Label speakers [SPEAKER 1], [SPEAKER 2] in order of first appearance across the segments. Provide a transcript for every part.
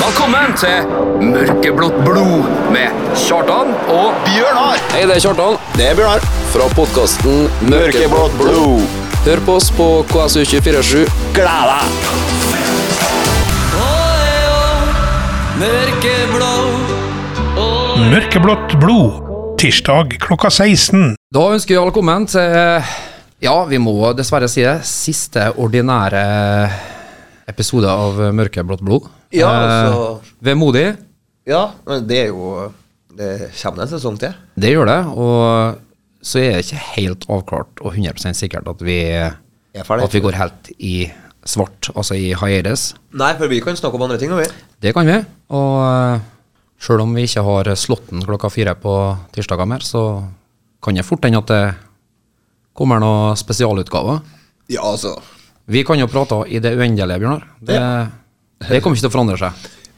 [SPEAKER 1] Velkommen til Mørkeblått blod med Kjartan og
[SPEAKER 2] Bjørnar!
[SPEAKER 3] Hei, det er Kjartan.
[SPEAKER 2] Det er Bjørnar.
[SPEAKER 3] Fra podkasten
[SPEAKER 2] Mørkeblått blod.
[SPEAKER 3] Hør på oss på KSU247.
[SPEAKER 2] Gled deg!
[SPEAKER 4] Mørkeblått blod. Tirsdag klokka 16.
[SPEAKER 1] Da ønsker vi velkommen til Ja, vi må dessverre si det. Siste ordinære episode av Mørkeblått blod.
[SPEAKER 2] Ja,
[SPEAKER 1] Eh,
[SPEAKER 2] altså.
[SPEAKER 1] Vemodig.
[SPEAKER 2] Ja, men det er jo Det kommer en sesong til.
[SPEAKER 1] Det gjør det. Og så er det ikke helt avklart og 100 sikkert at vi,
[SPEAKER 2] Jeg er ferdig.
[SPEAKER 1] at vi går helt i svart, altså i Haeres.
[SPEAKER 2] Nei, for vi kan snakke om andre ting nå, vi.
[SPEAKER 1] Det kan vi. Og eh, sjøl om vi ikke har slåtten klokka fire på tirsdager mer, så kan det fort hende at det kommer noen spesialutgaver.
[SPEAKER 2] Ja, altså.
[SPEAKER 1] Vi kan jo prate i det uendelige, Bjørnar. Det, det kommer ikke til å forandre seg.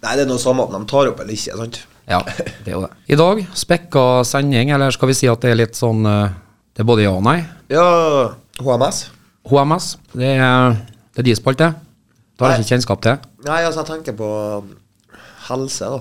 [SPEAKER 2] Nei, det er noe samme om de tar opp eller ikke, sant?
[SPEAKER 1] Ja, det er jo det. I dag spekka sending, eller skal vi si at det er litt sånn eh, Det er både ja og nei.
[SPEAKER 2] Ja, HMS?
[SPEAKER 1] HMS, det er, det er de spalte. Det har jeg ikke kjennskap til.
[SPEAKER 2] Nei, altså, jeg tenker på um, helse, da.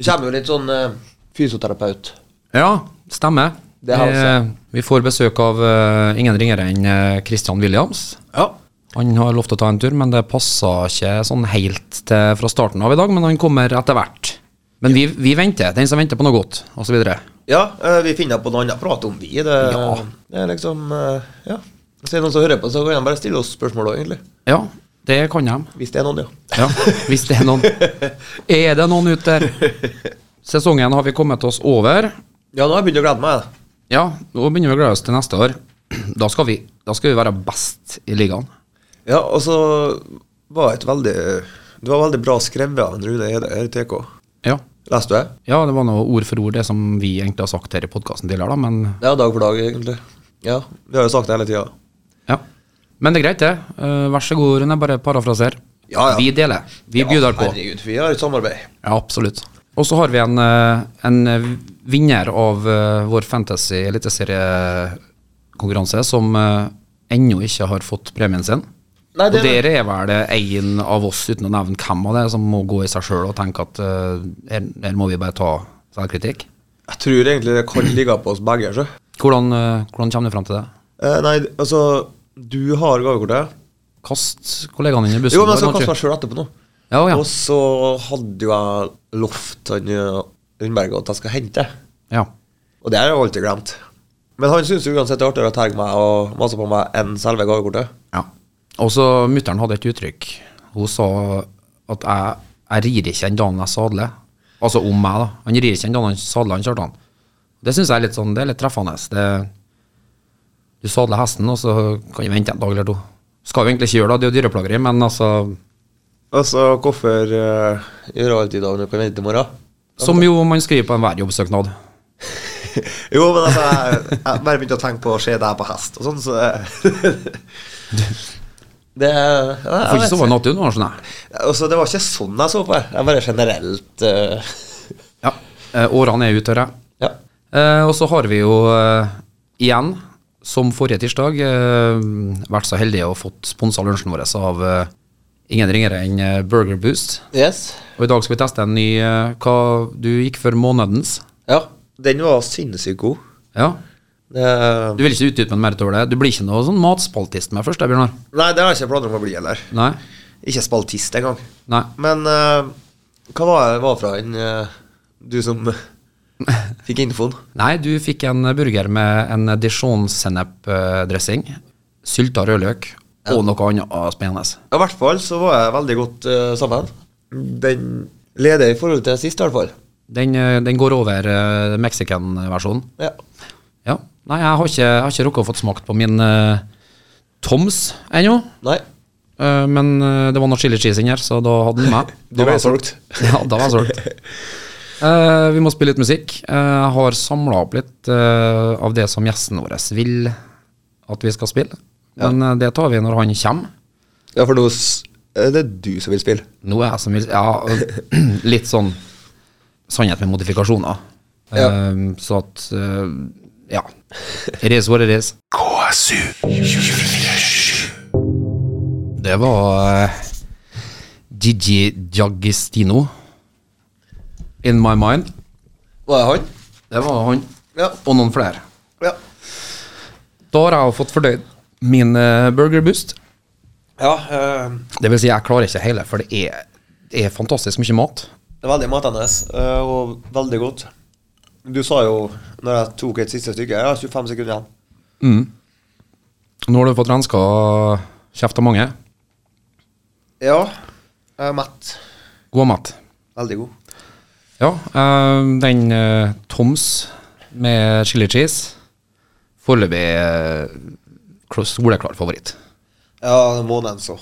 [SPEAKER 2] Det kommer jo litt sånn eh, fysioterapeut.
[SPEAKER 1] Ja, stemmer.
[SPEAKER 2] Det har jeg
[SPEAKER 1] Eh, vi får besøk av eh, ingen ringere enn eh, Christian Williams.
[SPEAKER 2] Ja.
[SPEAKER 1] Han har lovt å ta en tur, men det passa ikke sånn helt til fra starten av i dag. Men han kommer etter hvert. Men vi, vi venter. Den som venter på noe godt, osv.
[SPEAKER 2] Ja, eh, vi finner på noe annet å prate om, vi. Det,
[SPEAKER 1] Ja.
[SPEAKER 2] det er liksom eh, Ja. Hvis det er noen som hører på, så kan de bare stille oss spørsmål òg, egentlig.
[SPEAKER 1] Ja, det kan de.
[SPEAKER 2] Hvis det er noen, ja.
[SPEAKER 1] Ja, hvis det er noen. Er det noen ute der? Sesongen har vi kommet oss over.
[SPEAKER 2] Ja, nå har jeg begynt å glede meg. jeg.
[SPEAKER 1] Ja, nå begynner vi å glede oss til neste år. Da skal vi, da skal vi være best i ligaen.
[SPEAKER 2] Ja, og så var et veldig Det var veldig bra skrevet av en Rune Ede her i TK.
[SPEAKER 1] Ja.
[SPEAKER 2] Leste du det?
[SPEAKER 1] ja, det var noe ord for ord, det som vi egentlig har sagt her i podkasten tidligere, da, men
[SPEAKER 2] Ja, dag for dag, egentlig. Ja, vi har jo sagt det hele tida.
[SPEAKER 1] Ja. Men det er greit, det. Eh, vær så god, Rune. Bare parafraser.
[SPEAKER 2] Ja, ja.
[SPEAKER 1] Vi deler. Vi byr på.
[SPEAKER 2] Herregud, vi har et samarbeid.
[SPEAKER 1] Ja, absolutt. Og så har vi en, eh, en eh, vinner av eh, vår Fantasy eliteseriekonkurranse som eh, ennå ikke har fått premien sin.
[SPEAKER 2] Nei, det
[SPEAKER 1] og dere er vel en av oss, uten å nevne hvem av det, som må gå i seg sjøl og tenke at eh, her, her må vi bare ta selvkritikk.
[SPEAKER 2] Jeg tror egentlig det kan ligge på oss begge. Så.
[SPEAKER 1] Hvordan, eh, hvordan kommer du fram til det?
[SPEAKER 2] Eh, nei, altså Du har gavekortet.
[SPEAKER 1] Kast kollegaene dine i bussen.
[SPEAKER 2] Jo, men altså, jeg skal
[SPEAKER 1] bare,
[SPEAKER 2] kaste
[SPEAKER 1] kanskje.
[SPEAKER 2] meg sjøl etterpå nå.
[SPEAKER 1] Ja, ja.
[SPEAKER 2] Og så hadde jo jeg lovt han eh, Lundberg at jeg skal hente.
[SPEAKER 1] ja.
[SPEAKER 2] Og det har jeg jo alltid glemt. Men han syns uansett det er artigere å terge meg og mase på meg enn selve gavekortet.
[SPEAKER 1] Ja. Og så mutter'n hadde et uttrykk. Hun sa at jeg, jeg rir ikke en dagen jeg sadler. Altså om meg, da. Han rir ikke en dagen han sadler, han Kjartan. Det syns jeg er litt sånn, det er litt treffende. Det, du sadler hesten, og så kan du vente en dag eller to. Skal jo egentlig ikke gjøre det, det er jo dyreplageri, men altså
[SPEAKER 2] Altså, hvorfor uh, gjøre alt i dag når du kan vente til i morgen?
[SPEAKER 1] Som jo man skriver på enhver jobbsøknad.
[SPEAKER 2] Jo, men altså, jeg, jeg bare begynte å tenke på å se deg på hest og sånn, så jeg- Det jeg,
[SPEAKER 1] Du
[SPEAKER 2] jeg
[SPEAKER 1] får ikke
[SPEAKER 2] vet
[SPEAKER 1] sove
[SPEAKER 2] ikke.
[SPEAKER 1] nattun, skjønner jeg.
[SPEAKER 2] Altså, det var ikke sånn jeg så på det. Jeg bare generelt eh,
[SPEAKER 1] Ja. Eh, Årene er ute, hører jeg.
[SPEAKER 2] Ja.
[SPEAKER 1] Eh, og så har vi jo eh, igjen, som forrige tirsdag, eh, vært så heldige og fått sponsa lunsjen vår av eh, ingen ringere enn eh, Burger Boost.
[SPEAKER 2] Yes.
[SPEAKER 1] Og i dag skal vi teste en ny eh, hva du gikk for månedens.
[SPEAKER 2] Ja. Den var sinnssykt god.
[SPEAKER 1] Ja.
[SPEAKER 2] Det-
[SPEAKER 1] Du vil ikke utdype den mer utover det? Du blir ikke noe sånn matspaltist med først, det, Bjørnar?
[SPEAKER 2] Nei, det har jeg ikke planer om å bli heller.
[SPEAKER 1] Nei?
[SPEAKER 2] Ikke spaltist engang.
[SPEAKER 1] Nei.
[SPEAKER 2] Men eh, hva var det var fra den eh, du som fikk infoen?
[SPEAKER 1] Nei, du fikk en burger med en dijon-sennep-dressing, sylta rødløk og noe annet ah, spennende.
[SPEAKER 2] I hvert fall så var jeg veldig godt eh, sammen. Den leder i forhold til sist, i hvert fall.
[SPEAKER 1] Den, eh, den går over uh, mexican-versjonen.
[SPEAKER 2] Ja.
[SPEAKER 1] Ja. Nei, jeg har ikke, jeg har ikke rukket å fått smakt på min eh, Toms ennå.
[SPEAKER 2] Nei.
[SPEAKER 1] Eh, men eh, det var noe chili cheese inni her, så da hadde den meg. Da var jeg solgt. Ja, da var jeg solgt. Eh, vi må spille litt musikk. Eh, jeg har samla opp litt eh, av det som gjesten vår vil at vi skal spille. Men eh, det tar vi når han kommer.
[SPEAKER 2] Ja, for nå s- er det du som vil spille.
[SPEAKER 1] Nå er jeg som vil Ja, litt sånn sannhet med modifikasjoner. Eh,
[SPEAKER 2] Ja.
[SPEAKER 1] Så at eh, Ja. It is what it is. Det var eh, Gigi Giagistino In My Mind.
[SPEAKER 2] Var det han?
[SPEAKER 1] Det var han.
[SPEAKER 2] Ja.
[SPEAKER 1] Og noen flere.
[SPEAKER 2] Ja.
[SPEAKER 1] Da har jeg jo fått fordøyd min eh, Burger Boost.
[SPEAKER 2] ja eh,
[SPEAKER 1] Det vil si, jeg klarer ikke hele, for det er, det er fantastisk mye mat.
[SPEAKER 2] det er veldig matende eh, og veldig godt. Du sa jo, når jeg tok et siste stykke, jeg har 25 sekunder igjen.
[SPEAKER 1] Nå har du fått renska kjeft av mange.
[SPEAKER 2] Ja, jeg er mett.
[SPEAKER 1] God og mett.
[SPEAKER 2] Veldig god.
[SPEAKER 1] Ja, eh, den eh, Toms med chili cheese Foreløpig uh, soleklar favoritt.
[SPEAKER 2] Ja, det er måneden så.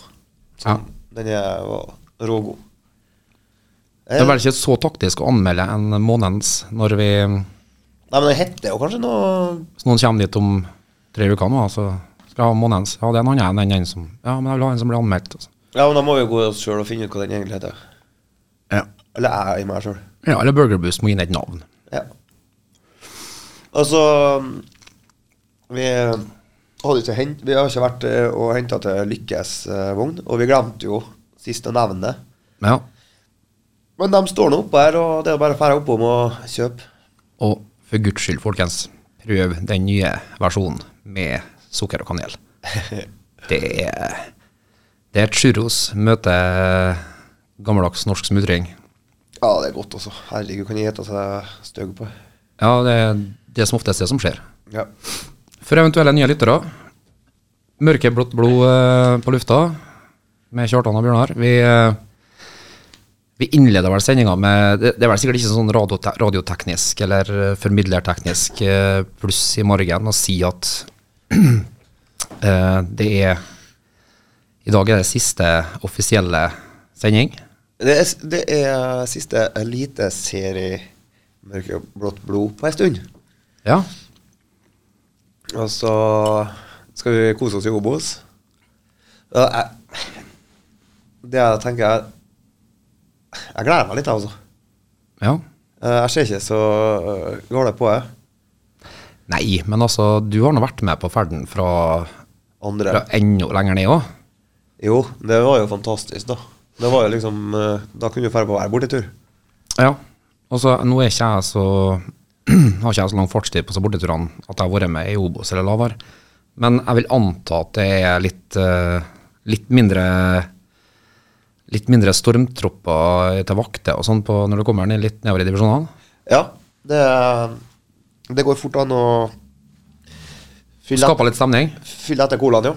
[SPEAKER 1] Ja.
[SPEAKER 2] Den er var rågod.
[SPEAKER 1] Det er vel ikke så taktisk å anmelde en månedens når vi
[SPEAKER 2] Eh, Nei, men den heter jo kanskje noe
[SPEAKER 1] Hvis noen kommer dit om tre uker nå, så skal jeg ha månedens. Ja, det er en annen enn den som Ja, men jeg vil ha en som blir anmeldt. Altså.
[SPEAKER 2] Ja, men da må vi jo gå oss sjøl og finne ut hva den egentlig heter.
[SPEAKER 1] Ja.
[SPEAKER 2] Eller jeg i meg sjøl.
[SPEAKER 1] ja, eller Burger Boost må gi den et navn.
[SPEAKER 2] Ja. Altså Vi hadde ikke hent, Vi har ikke vært eh, og henta til Lykkes eh, vogn, og vi glemte jo sist å nevne det.
[SPEAKER 1] Men ja.
[SPEAKER 2] Men de står nå oppe her, og det er bare å fære oppom og kjøpe.
[SPEAKER 1] Og for guds skyld, folkens, prøv den nye versjonen med sukker og kanel. Det er, det er churros møter gammeldags norsk smultring.
[SPEAKER 2] Ja, det er godt også. Herregud, kan jeg gjette seg stygg på.
[SPEAKER 1] Ja, det er det som oftest det som skjer.
[SPEAKER 2] Ja.
[SPEAKER 1] For eventuelle nye lyttere, mørkeblått blod eh, på lufta med Kjartan og Bjørnar. Vi, eh, vi innleder vel sendinga med Det det er vel sikkert ikke sånn radiote radioteknisk eller eh, formidlerteknisk eh, pluss i margen å si at eh, det er I dag er det siste offisielle sending.
[SPEAKER 2] Det er, det er siste eliteserie Mørkeblått blod på ei stund.
[SPEAKER 1] Ja.
[SPEAKER 2] Og så skal vi kose oss i Obos. Ja, jeg- Det jeg tenker jeg Jeg gleder meg litt, jeg, altså.
[SPEAKER 1] ja.
[SPEAKER 2] Eh, Jeg ser ikke så øh, gale på jeg.
[SPEAKER 1] Nei, men altså, du har nå vært med på ferden fra, fra
[SPEAKER 2] Andre.
[SPEAKER 1] enda lenger ned òg.
[SPEAKER 2] Jo, det var jo fantastisk, da. Det var jo liksom eh, Da kunne du dra på hver bortetur.
[SPEAKER 1] Ja. Og så Altså, nå er ikke jeg så har ikke jeg så lang fartstid på så borteturene at jeg har vært med i Obos eller lavere. Men jeg vil anta at det er litt, eh, litt mindre litt mindre stormtropper til vakter og sånn på- når du kommer ned litt nedover i divisjonene.
[SPEAKER 2] Ja, det, det går fort an å fylle,
[SPEAKER 1] Skaper litt stemning.
[SPEAKER 2] fylle etter colaen, jo.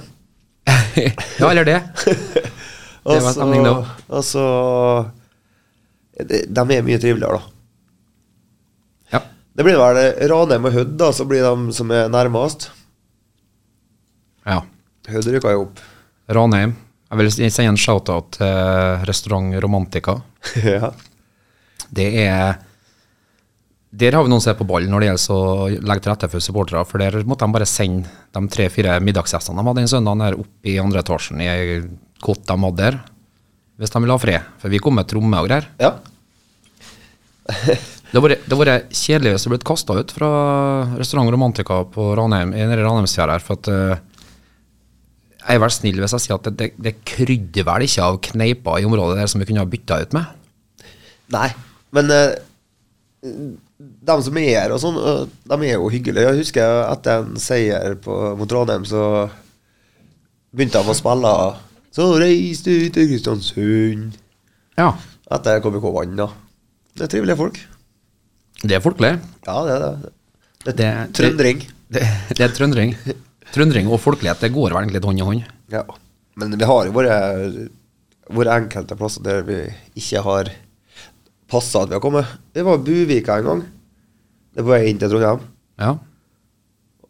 [SPEAKER 1] ja, eller det. var
[SPEAKER 2] Og så-
[SPEAKER 1] stemning, det
[SPEAKER 2] Og så de, de er mye triveligere, da.
[SPEAKER 1] Ja.
[SPEAKER 2] Det blir vel Ranheim og Hødd, da, så blir de som er nærmest.
[SPEAKER 1] ja.
[SPEAKER 2] Hødd rykka jo opp.
[SPEAKER 1] Ranheim. Jeg vil si- sende en shout-out til eh, restaurant Romantica.
[SPEAKER 2] ja.
[SPEAKER 1] det er Der har vi noen som er på ballen når det gjelder å legge til rette for supportere. For der måtte de bare sende de tre-fire middagsgjestene de hadde den søndagen, her opp i andre etasjen i ei kott de hadde der. Hvis de ville ha fred. For vi kom med tromme og greier.
[SPEAKER 2] ja.
[SPEAKER 1] Det har vært- det har vært kjedelig hvis du ble kasta ut fra restaurant Romantica på Ranheim, i nede i Ranheimsfjæra her. For at eh, jeg er vel snill hvis jeg sier at det, det, det krydder vel ikke av kneiper i området der som vi kunne ha bytta ut med.
[SPEAKER 2] Nei, men eh, de som er her og sånn, eh, de er jo hyggelige. Jeg husker etter en seier på, mot Ranheim, så begynte de å spille Så reiste du til Kristiansund
[SPEAKER 1] Ja.
[SPEAKER 2] Etter KBK vant, da. Det er trivelige folk.
[SPEAKER 1] Det er folkelig.
[SPEAKER 2] Ja, det er det. Det er
[SPEAKER 1] Det-
[SPEAKER 2] trøndering.
[SPEAKER 1] Det, det er trøndring. Trøndring og folkelighet, det går vel egentlig litt hånd i hånd.
[SPEAKER 2] Ja. Men vi har jo våre, våre enkelte plasser der vi ikke har passa at vi har kommet. Det var Buvika en gang. Det var jeg inn til Trondheim.
[SPEAKER 1] Ja.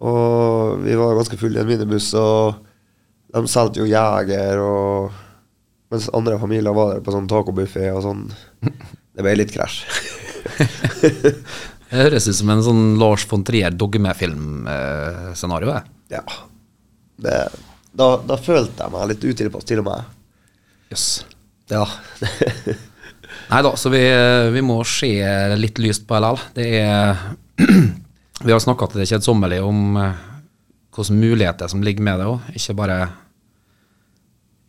[SPEAKER 2] Og vi var ganske fulle i en minibuss, og de solgte jo Jeger og Mens andre familier var der på sånn tacobuffé og sånn. Det ble litt krasj.
[SPEAKER 1] Det høres ut som en sånn Lars von Trier dogmefilmscenario. Eh,
[SPEAKER 2] ja. Det, da, da følte jeg meg litt utilpass, til og med.
[SPEAKER 1] Jøss.
[SPEAKER 2] Ja.
[SPEAKER 1] Nei da, så vi, vi må se litt lyst på LL. Det er Vi har snakka til det kjedsommelige om eh, hvilke muligheter som ligger med det òg. Ikke bare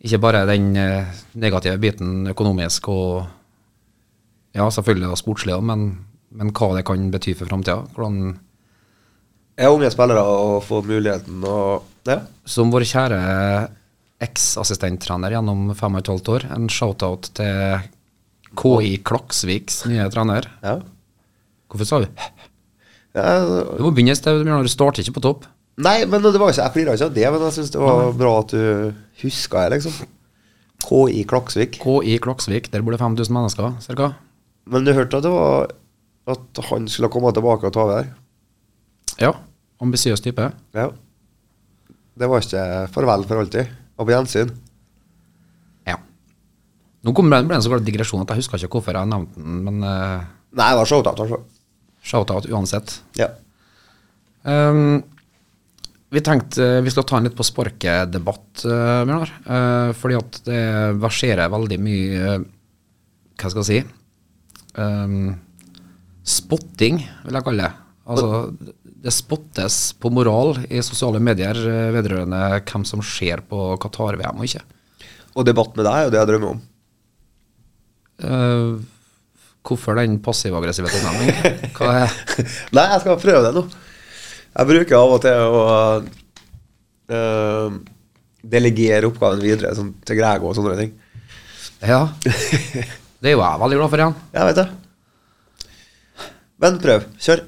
[SPEAKER 1] ikke bare den eh, negative biten økonomisk og Ja, selvfølgelig det sportslige, men, men hva det kan bety for framtida. Hvordan
[SPEAKER 2] Jeg er unge spillere og får muligheten og ja.
[SPEAKER 1] Som vår kjære eks-assistenttrener gjennom fem og et halvt år, en shout-out til KI Klaksviks nye trener.
[SPEAKER 2] ja.
[SPEAKER 1] Hvorfor sa du
[SPEAKER 2] ja altså,
[SPEAKER 1] Du må begynne et sted, Bjørnar. Du starter ikke på topp.
[SPEAKER 2] Nei, men det var jo ikke, jeg flira ikke av det, men jeg syns det var bra at du huska det, liksom. KI Klaksvik.
[SPEAKER 1] KI Klaksvik, der bor det 5000 mennesker, cirka.
[SPEAKER 2] Men du hørte at det var at han skulle komme tilbake og ta over?
[SPEAKER 1] Ja. Ambisiøs type.
[SPEAKER 2] Ja. Det var ikke farvel for alltid. Og på gjensyn.
[SPEAKER 1] Ja. Nå kom det ble det en så glad digresjon at jeg husker ikke hvorfor jeg nevnte den, men eh,
[SPEAKER 2] Nei, det var showtout, altså.
[SPEAKER 1] shout-out uansett.
[SPEAKER 2] Ja.
[SPEAKER 1] Ehm, vi tenkte eh, vi skal ta en litt på sparket-debatt, eh, Bjørnar. Eh, fordi at det verserer veldig mye eh, Hva skal jeg si? Ehm, spotting, vil jeg kalle det. Altså, det spottes på moral i sosiale medier eh, vedrørende hvem som ser på Qatar-VM og ikke.
[SPEAKER 2] Og debatt med deg er jo det jeg drømmer om.
[SPEAKER 1] Eh, hvorfor den passiv-aggressive tilnærmingen? Hva er
[SPEAKER 2] Nei, jeg skal prøve det nå. Jeg bruker av og til å øh, delegere oppgaven videre sånn, til Grego og sånne ting.
[SPEAKER 1] Ja. Det er jo jeg veldig glad for igjen.
[SPEAKER 2] Jeg vet det. Men prøv. Kjør.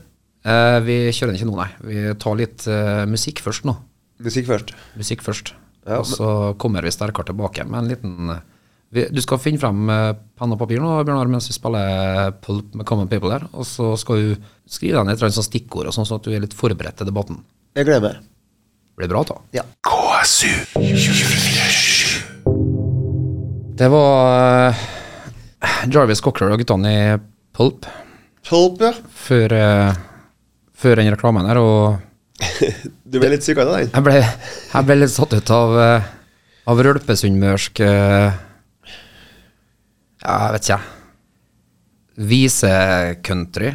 [SPEAKER 1] Eh, vi kjører den ikke nå, nei. Vi tar litt eh, musikk først nå.
[SPEAKER 2] Musikk først.
[SPEAKER 1] Musikk først.
[SPEAKER 2] Ja,
[SPEAKER 1] og så kommer vi sterkere tilbake med en liten eh, vi, Du skal finne frem eh, penn og papir nå, Bjørnar, mens vi spiller Pulp med Common People her. Og så skal du skrive deg ned et eller annet sånt stikkord, og sånn, sånn at du er litt forberedt til debatten.
[SPEAKER 2] Jeg glemmer.
[SPEAKER 1] Blir bra, da.
[SPEAKER 2] Ja.
[SPEAKER 1] Det var eh, Jarvis Cockler og guttene i Pulp
[SPEAKER 2] Tolp, ja.
[SPEAKER 1] før, eh, før den reklamen her, og
[SPEAKER 2] Du ble litt syk av den.
[SPEAKER 1] Jeg ble, jeg ble litt satt ut av, eh, av rølpesundmørsk eh, Ja, jeg vet ikke, jeg. Vise-country.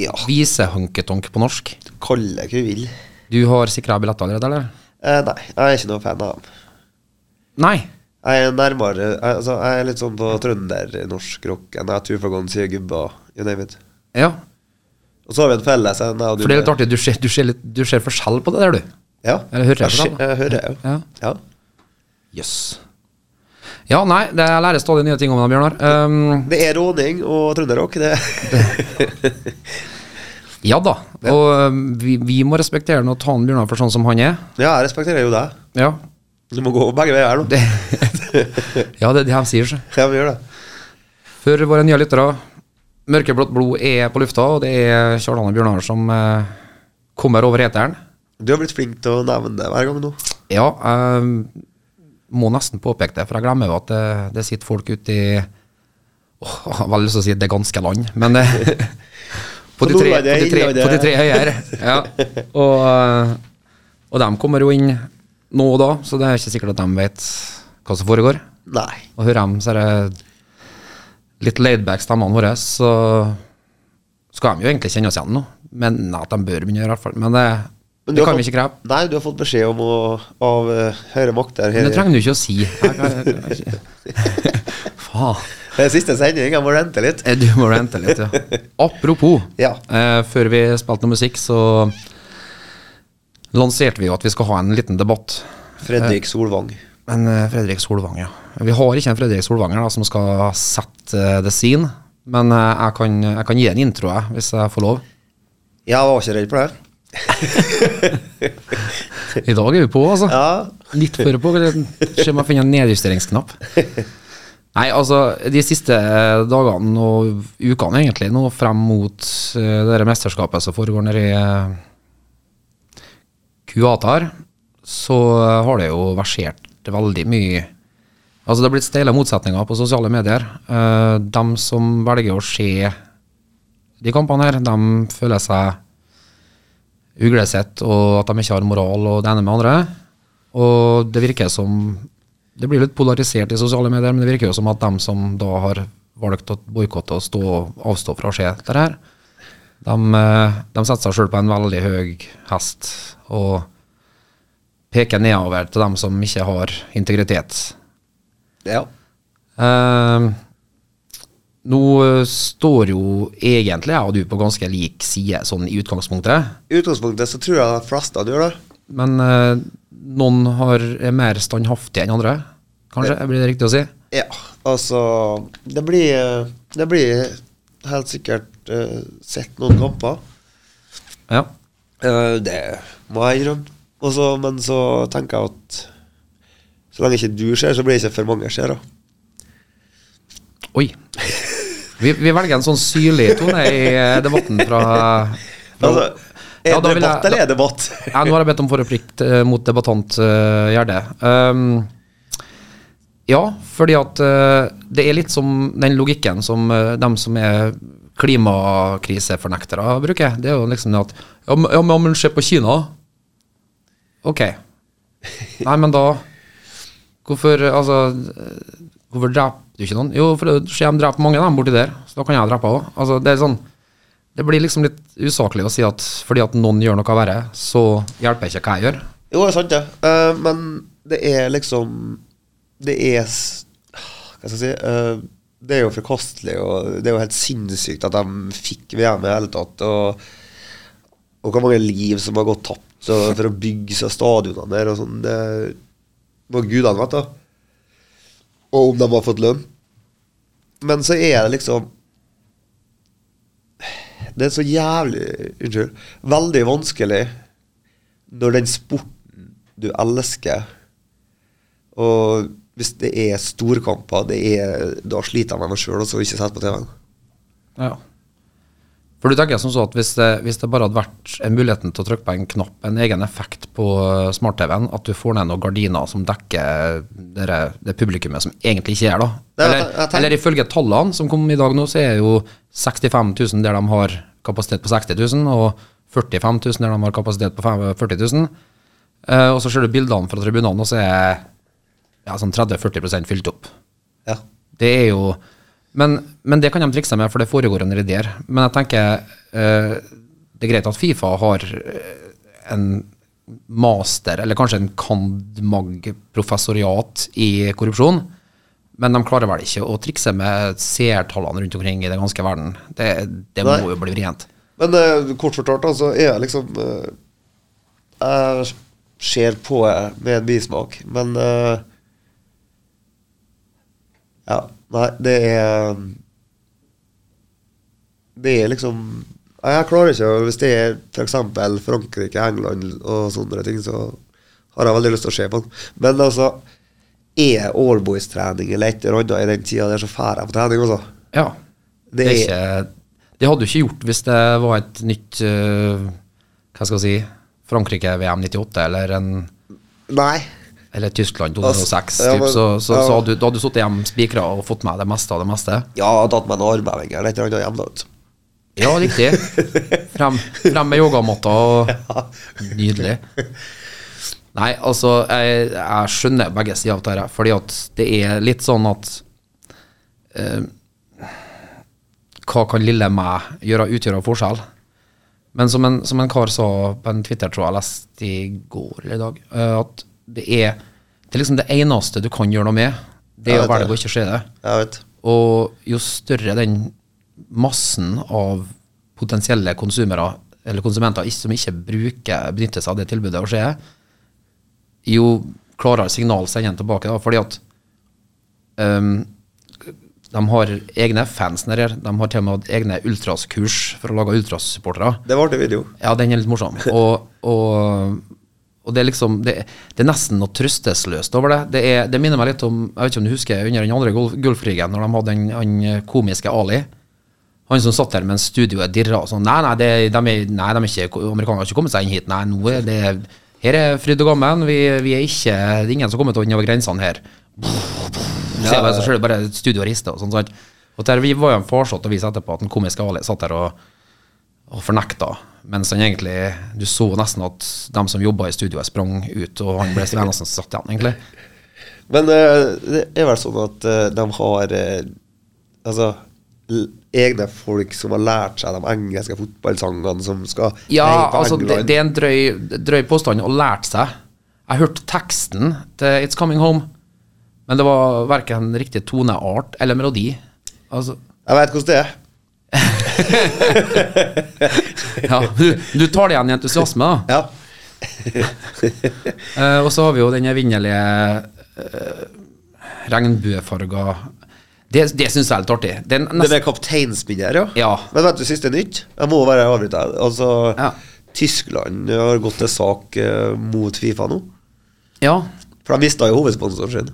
[SPEAKER 2] Ja.
[SPEAKER 1] Vise-honketonk på norsk.
[SPEAKER 2] Kall det hva du vil.
[SPEAKER 1] Du har sikra billett allerede, eller?
[SPEAKER 2] Eh, nei, jeg er ikke noe fan av dem.
[SPEAKER 1] Nei.
[SPEAKER 2] Jeg er nærmere jeg- altså, Jeg er litt sånn på trønder-norsk rock enn jeg tror for gang sier gubba. You name it.
[SPEAKER 1] Ja,
[SPEAKER 2] Og så har vi en felles en. jeg og du
[SPEAKER 1] for det er litt
[SPEAKER 2] med.
[SPEAKER 1] artig. Du ser, du ser, litt, du ser forskjell på det der, du.
[SPEAKER 2] Ja.
[SPEAKER 1] Eller hører jeg
[SPEAKER 2] jeg skj-
[SPEAKER 1] på det,
[SPEAKER 2] jeg hører, jeg,
[SPEAKER 1] Ja.
[SPEAKER 2] ja.
[SPEAKER 1] Jøss. Ja, nei, det jeg lærer stadig nye ting om deg, Bjørnar. Um,
[SPEAKER 2] Det er råning og trønderrock. Det.
[SPEAKER 1] ja da. Og um, vi, vi må respektere han og ta han Bjørnar for sånn som han er.
[SPEAKER 2] Ja, jeg respekterer jo deg.
[SPEAKER 1] Ja,
[SPEAKER 2] Du må gå begge veier nå.
[SPEAKER 1] det, ja, det er det de sier, så.
[SPEAKER 2] Ja, vi gjør det.
[SPEAKER 1] For våre nye lyttere, Mørkeblått blod er på lufta, og det er Kjartan og Bjørnar som eh, kommer over heteren.
[SPEAKER 2] Du har blitt flink til å nevne det hver gang nå.
[SPEAKER 1] Ja, jeg må nesten påpeke det, for jeg glemmer jo at det, det sitter folk ute i Åh, Jeg har veldig lyst til å si det ganske land, men det, på, de tre, på, de tre, på de tre høyere. Ja. Og, eh, og de kommer jo inn nå og da, så det er ikke sikkert at de vet hva som foregår.
[SPEAKER 2] Nei.
[SPEAKER 1] Og hører dem så er det litt laidback stemmene våre, så skal de jo egentlig kjenne oss igjen nå. Men nei, at de bør begynne å gjøre i hvert fall. Men det,
[SPEAKER 2] Men du
[SPEAKER 1] det
[SPEAKER 2] har
[SPEAKER 1] kan
[SPEAKER 2] fått-
[SPEAKER 1] vi ikke kreve.
[SPEAKER 2] Nei, du har fått beskjed om å, av eh, høyre makter
[SPEAKER 1] Men
[SPEAKER 2] her.
[SPEAKER 1] det trenger du ikke å si. Jeg kan- jeg kan ikke- Faen.
[SPEAKER 2] Det er siste sending, jeg må rente litt.
[SPEAKER 1] Eh, Du må rente litt, ja. Apropos,
[SPEAKER 2] Ja.
[SPEAKER 1] eh, før vi spilte noe musikk, så lanserte vi jo at vi skal ha en liten debatt.
[SPEAKER 2] Fredrik Solvang.
[SPEAKER 1] Men eh, Fredrik Solvang, ja. Vi har ikke en Fredrik Solvang her da, som skal sette eh, the scene. Men eh, jeg, kan, jeg kan gi en intro, jeg, hvis jeg får lov.
[SPEAKER 2] Ja, jeg var ikke redd for det.
[SPEAKER 1] I dag er vi på, altså.
[SPEAKER 2] Ja,
[SPEAKER 1] Litt før på. Se om jeg finner en nedjusteringsknapp. Nei, altså, de siste eh, dagene og ukene, egentlig, nå frem mot eh, det der mesterskapet som foregår nede i eh, Qatar, så eh, har det jo versert veldig mye Altså, det har blitt steile motsetninger på sosiale medier. Eh, dem som velger å se de kampene her, dem føler seg uglesett, og at de ikke har moral og det ene med det andre. Og det virker som Det blir litt polarisert i sosiale medier, men det virker jo som at dem som da har valgt å boikotte og stå, avstå fra å se dette her, de, eh, de setter seg sjøl på en veldig høy hest og peker nedover til dem som ikke har integritet.
[SPEAKER 2] ja.
[SPEAKER 1] Eh, Nå eh, står jo egentlig jeg og du på ganske lik side sånn i utgangspunktet.
[SPEAKER 2] I utgangspunktet så tror jeg de fleste gjør det.
[SPEAKER 1] Men eh, noen har, er mer standhaftige enn andre, kanskje? Blir det riktig å si?
[SPEAKER 2] Ja, altså Det blir, eh, det blir helt sikkert eh, sett noen kamper.
[SPEAKER 1] Ja.
[SPEAKER 2] Eh, det må jeg innrømme. Og så- men så tenker jeg at så lenge ikke du ser, så blir det ikke for mange seere.
[SPEAKER 1] Oi. Vi, vi velger en sånn syrlig tone i eh, debatten fra, fra
[SPEAKER 2] Altså, er
[SPEAKER 1] Ja, da
[SPEAKER 2] det
[SPEAKER 1] vil
[SPEAKER 2] debatt
[SPEAKER 1] jeg-
[SPEAKER 2] eller er det debatt?
[SPEAKER 1] Ja, nå har jeg bedt om forreplikk eh, mot debattant eh, Gjerde. Ehm, ja, fordi at eh, det er litt som den logikken som eh, dem som er klimakrisefornektere bruker. Det er jo liksom det at Ja, men, ja, men- ja, men se på Kina. Ok. Nei, men da Hvorfor Altså eh, Hvorfor dreper du ikke noen? Jo, for det skjer de dreper mange dem borti der, så da kan jeg drepe òg. Altså, det er sånn det blir liksom litt usaklig å si at fordi at noen gjør noe verre, så hjelper ikke hva jeg gjør.
[SPEAKER 2] Jo, det er sant, det. Eh, men det er liksom Det er s- Hva skal jeg si eh, Det er jo forkastelig, og det er jo helt sinnssykt at de fikk VM i det hele tatt. Og, og hvor mange liv som har gått tapt og, for å bygge seg stadionene der og sånn. Det må gudene vet, da. Og om de har fått lønn. Men så er det liksom Det er så jævlig Unnskyld. Veldig vanskelig når den sporten du elsker Og hvis det er storkamper, det er, da sliter jeg med meg sjøl og så ikke sett på TV-en.
[SPEAKER 1] For du tenker som så at hvis det, hvis det bare hadde vært en muligheten til å trykke på en knapp, en egen effekt på eh, smart-TV-en, at du får ned noen gardiner som dekker dere, det publikummet som egentlig ikke er da.
[SPEAKER 2] Nei, jeg
[SPEAKER 1] Eller,
[SPEAKER 2] tenk- jeg tenk-
[SPEAKER 1] eller ifølge tallene som kom i dag nå, så er jo 65 000 der de har kapasitet på 60 000, og 45 000 der de har kapasitet på fem- 40 000. Eh, og så ser du bildene fra tribunene, og så er ja, sånn 30-40 fylt opp.
[SPEAKER 2] Ja.
[SPEAKER 1] Det er jo men, men det kan de trikse med, for det foregår en der. Men jeg tenker eh, det er greit at Fifa har eh, en master, eller kanskje en cand.mag.professoriat i korrupsjon, men de klarer vel ikke å trikse med seertallene rundt omkring i den ganske verden. Det, det
[SPEAKER 2] Nei.
[SPEAKER 1] må jo bli vrient.
[SPEAKER 2] Men eh, kort fortalt, da, så er jeg liksom eh, Jeg ser på det med en bismak, men eh, Ja, nei, det er Det er liksom Nei, Jeg klarer ikke å- Hvis det er f.eks. Frankrike, England og sånne ting, så har jeg veldig lyst til å se på den. Men altså Er Allboys-trening eller et eller annet i den tida der, så drar jeg på trening, altså.
[SPEAKER 1] Ja. Det, er ikke, det hadde du ikke gjort hvis det var et nytt eh, Hva skal jeg si Frankrike-VM 98 eller, en,
[SPEAKER 2] Nei.
[SPEAKER 1] eller Tyskland
[SPEAKER 2] Altså,
[SPEAKER 1] 2006.
[SPEAKER 2] ja,
[SPEAKER 1] typ,
[SPEAKER 2] men-
[SPEAKER 1] så så,
[SPEAKER 2] ja.
[SPEAKER 1] så hadde, du- da hadde du sittet hjemme spikra og fått med deg det meste av det meste.
[SPEAKER 2] Ja, jeg har tatt meg en armheving eller et eller annet hjemme. da, vet du.
[SPEAKER 1] Ja, riktig. Frem, frem med yogamatta og Nydelig. Nei, altså, jeg, jeg skjønner begge sider av dette, fordi at det er litt sånn at eh, Hva kan lille meg gjøre utgjøre av forskjell? Men som en, som en kar sa på en Twitter-tråd jeg leste i går eller i dag, eh, at det er, det er liksom det eneste du kan gjøre noe med, det er
[SPEAKER 2] Jeg
[SPEAKER 1] å
[SPEAKER 2] vet det.
[SPEAKER 1] velge å ikke se det.
[SPEAKER 2] Jeg vet.
[SPEAKER 1] Og jo større den massen av potensielle konsumere eller konsumenter is- som ikke bruker, benytter seg av det tilbudet, og skjer, jo klarere signal sender en tilbake. Da, fordi at ehm, de har egne fans nedi her. De har til og med hatt egne ultraskurs for å lage ultrasupportere.
[SPEAKER 2] Det var artig video.
[SPEAKER 1] Ja, den er litt morsom. Og, og, og det er liksom det, det er nesten noe trøstesløst over det. Det, er, det minner meg litt om Jeg vet ikke om du husker under den andre Gulf- Gulfkrigen, når de hadde den han eh, komiske Ali. Han som satt der mens studioet dirra og sånn. Nei, nei, det, de, er, nei de er ikke, amerikanerne har ikke kommet seg inn hit. Nei, nå er det Her er fryd og gammen. Vi, vi er ikke Det er ingen som har kommet over grensene her. Så jeg bare, så ser du bare studio og rister og sånn. Sant? Og der, vi var jo en farsott å vise etterpå at den komiske Ali satt der og, og fornekta, mens han egentlig Du så nesten at dem som jobba i studioet, sprang ut, og han ble den eneste som satt igjen, egentlig.
[SPEAKER 2] Men eh, det er vel sånn at eh, de har eh, altså l egne folk som har lært seg de engelske fotballsangene som skal
[SPEAKER 1] Ja,
[SPEAKER 2] heie på
[SPEAKER 1] altså, det,
[SPEAKER 2] England.
[SPEAKER 1] det er en drøy, drøy påstand å lært seg. Jeg hørte teksten til It's Coming Home, men det var verken riktig toneart eller melodi. Altså,
[SPEAKER 2] Jeg veit hvordan det er.
[SPEAKER 1] Ja, du, du tar det igjen i entusiasme, da.
[SPEAKER 2] Ja.
[SPEAKER 1] Eh, og så har vi jo den evinnelige eh, regnbuefarga Det, det syns jeg er litt artig. Det
[SPEAKER 2] Det
[SPEAKER 1] er nesten,
[SPEAKER 2] med kapteinspinn her, ja.
[SPEAKER 1] Ja.
[SPEAKER 2] Men vet du, siste nytt? Jeg må bare avbryte her. Altså,
[SPEAKER 1] Ja.
[SPEAKER 2] Tyskland har gått til sak eh, mot Fifa nå.
[SPEAKER 1] ja,
[SPEAKER 2] For de mista jo hovedsponsoren sin.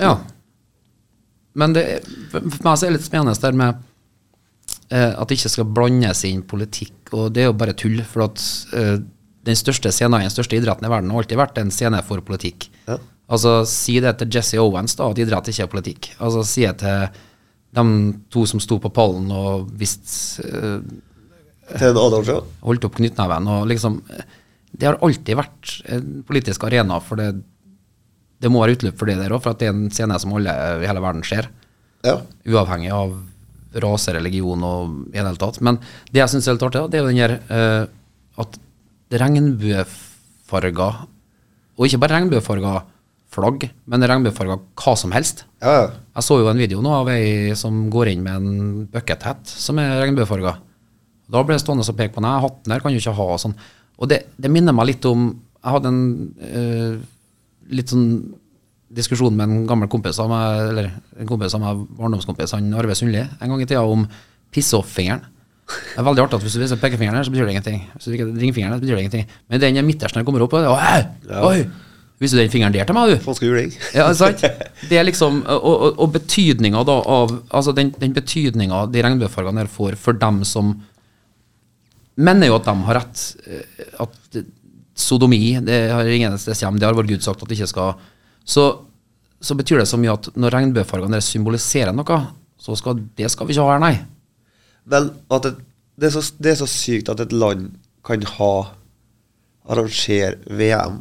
[SPEAKER 1] ja. Men det, er- for for meg så er det litt spennende det der med eh, at det ikke skal blandes inn politikk, og det er jo bare tull. For at eh, den største scenen i den største idretten i verden har alltid vært en scene for politikk.
[SPEAKER 2] Ja.
[SPEAKER 1] Altså, Si det til Jesse Owens, da, at idrett ikke er politikk. Altså, Si det til de to som sto på pallen og visste eh,
[SPEAKER 2] Til en Adolf, ja.
[SPEAKER 1] holdt opp knyttneven. og liksom, Det har alltid vært en politisk arena, for det, det må være utløp for det der òg, for at det er en scene som alle i hele verden ser.
[SPEAKER 2] ja.
[SPEAKER 1] Uavhengig av rase, religion og i det hele tatt. Men det jeg syns er litt artig, da, det er jo den her eh, at regnbuefarga Og ikke bare regnbuefarga flagg, men regnbuefarga hva som helst.
[SPEAKER 2] Ja, ja.
[SPEAKER 1] Jeg så jo en video nå av ei som går inn med en buckethatt som er regnbuefarga. Da ble jeg stående og peke på den. «Nei, Hatten her kan du ikke ha. Og sånn. Og det, det minner meg litt om Jeg hadde en eh, litt sånn diskusjon med en gammel kompis av meg, eller en kompis av meg, barndomskompis, han Arve Sundli, en gang i tida om piss-off-fingeren. Det er veldig artig at hvis du viser pekefingeren her, så betyr det ingenting. Hvis du viser ringfingeren her, så betyr det ingenting. Men den midterste når den kommer opp, og det er, «Åh, oi, viser du den fingeren der til meg, du?
[SPEAKER 2] Franske juling.
[SPEAKER 1] Ja, sant? Det er liksom, og, og, og betydninga da av altså Den, den betydninga de regnbuefargene her får for dem som mener jo at de har rett. eh, At det- sodomi det har ingen et sted hjem, det har vår Gud sagt at det ikke skal Så, så betyr det så mye at når regnbuefargene her symboliserer noe, så skal det skal vi ikke ha her, nei.
[SPEAKER 2] Men at et, det, er så, det er så sykt at et land kan ha arrangere VM,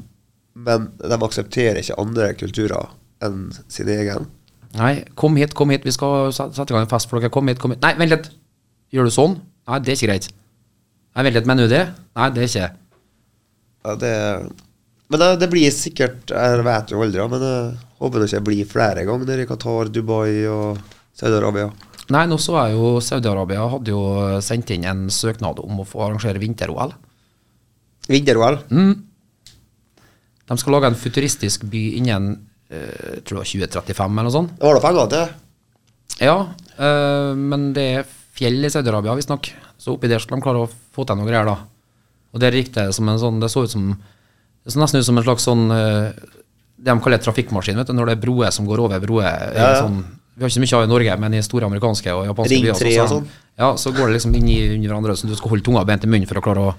[SPEAKER 2] men de aksepterer ikke andre kulturer enn sin egen.
[SPEAKER 1] Nei, kom hit, kom hit, vi skal set- sette i gang en fest for dere. Kom hit, kom hit. Nei, vent litt. Gjør du sånn? Nei, det er ikke greit. Nei, vent litt, mener du det? Nei, det er ikke
[SPEAKER 2] Ja, det, men det, det blir sikkert Jeg vet jo aldri, ja, men jeg håper det ikke blir flere ganger nede i Qatar, Dubai og Saudi-Arabia.
[SPEAKER 1] Nei, nå så jeg jo Saudi-Arabia hadde jo sendt inn en søknad om å få arrangere vinter-OL.
[SPEAKER 2] Vinter-OL.
[SPEAKER 1] Mm. De skal lage en futuristisk by innen eh, tror jeg 2035 eller noe sånt.
[SPEAKER 2] Det var da penger til.
[SPEAKER 1] Ja, eh, men det er fjell i Saudi-Arabia visstnok, så oppi der skal de klare å få til noe greier, da. Og der gikk det som en sånn Det så ut som Det så nesten ut som en slags sånn eh, Det de kaller trafikkmaskin, vet du, når det er broer som går over broer. i
[SPEAKER 2] Ja, ja.
[SPEAKER 1] Sånn, vi har ikke så mye av i Norge, men i store amerikanske og japanske
[SPEAKER 2] Ring
[SPEAKER 1] byer så-
[SPEAKER 2] tre og
[SPEAKER 1] så-
[SPEAKER 2] sånn.
[SPEAKER 1] Ja, så går det liksom inn i under hverandre, så du skal holde tunga bent i munnen for å klare å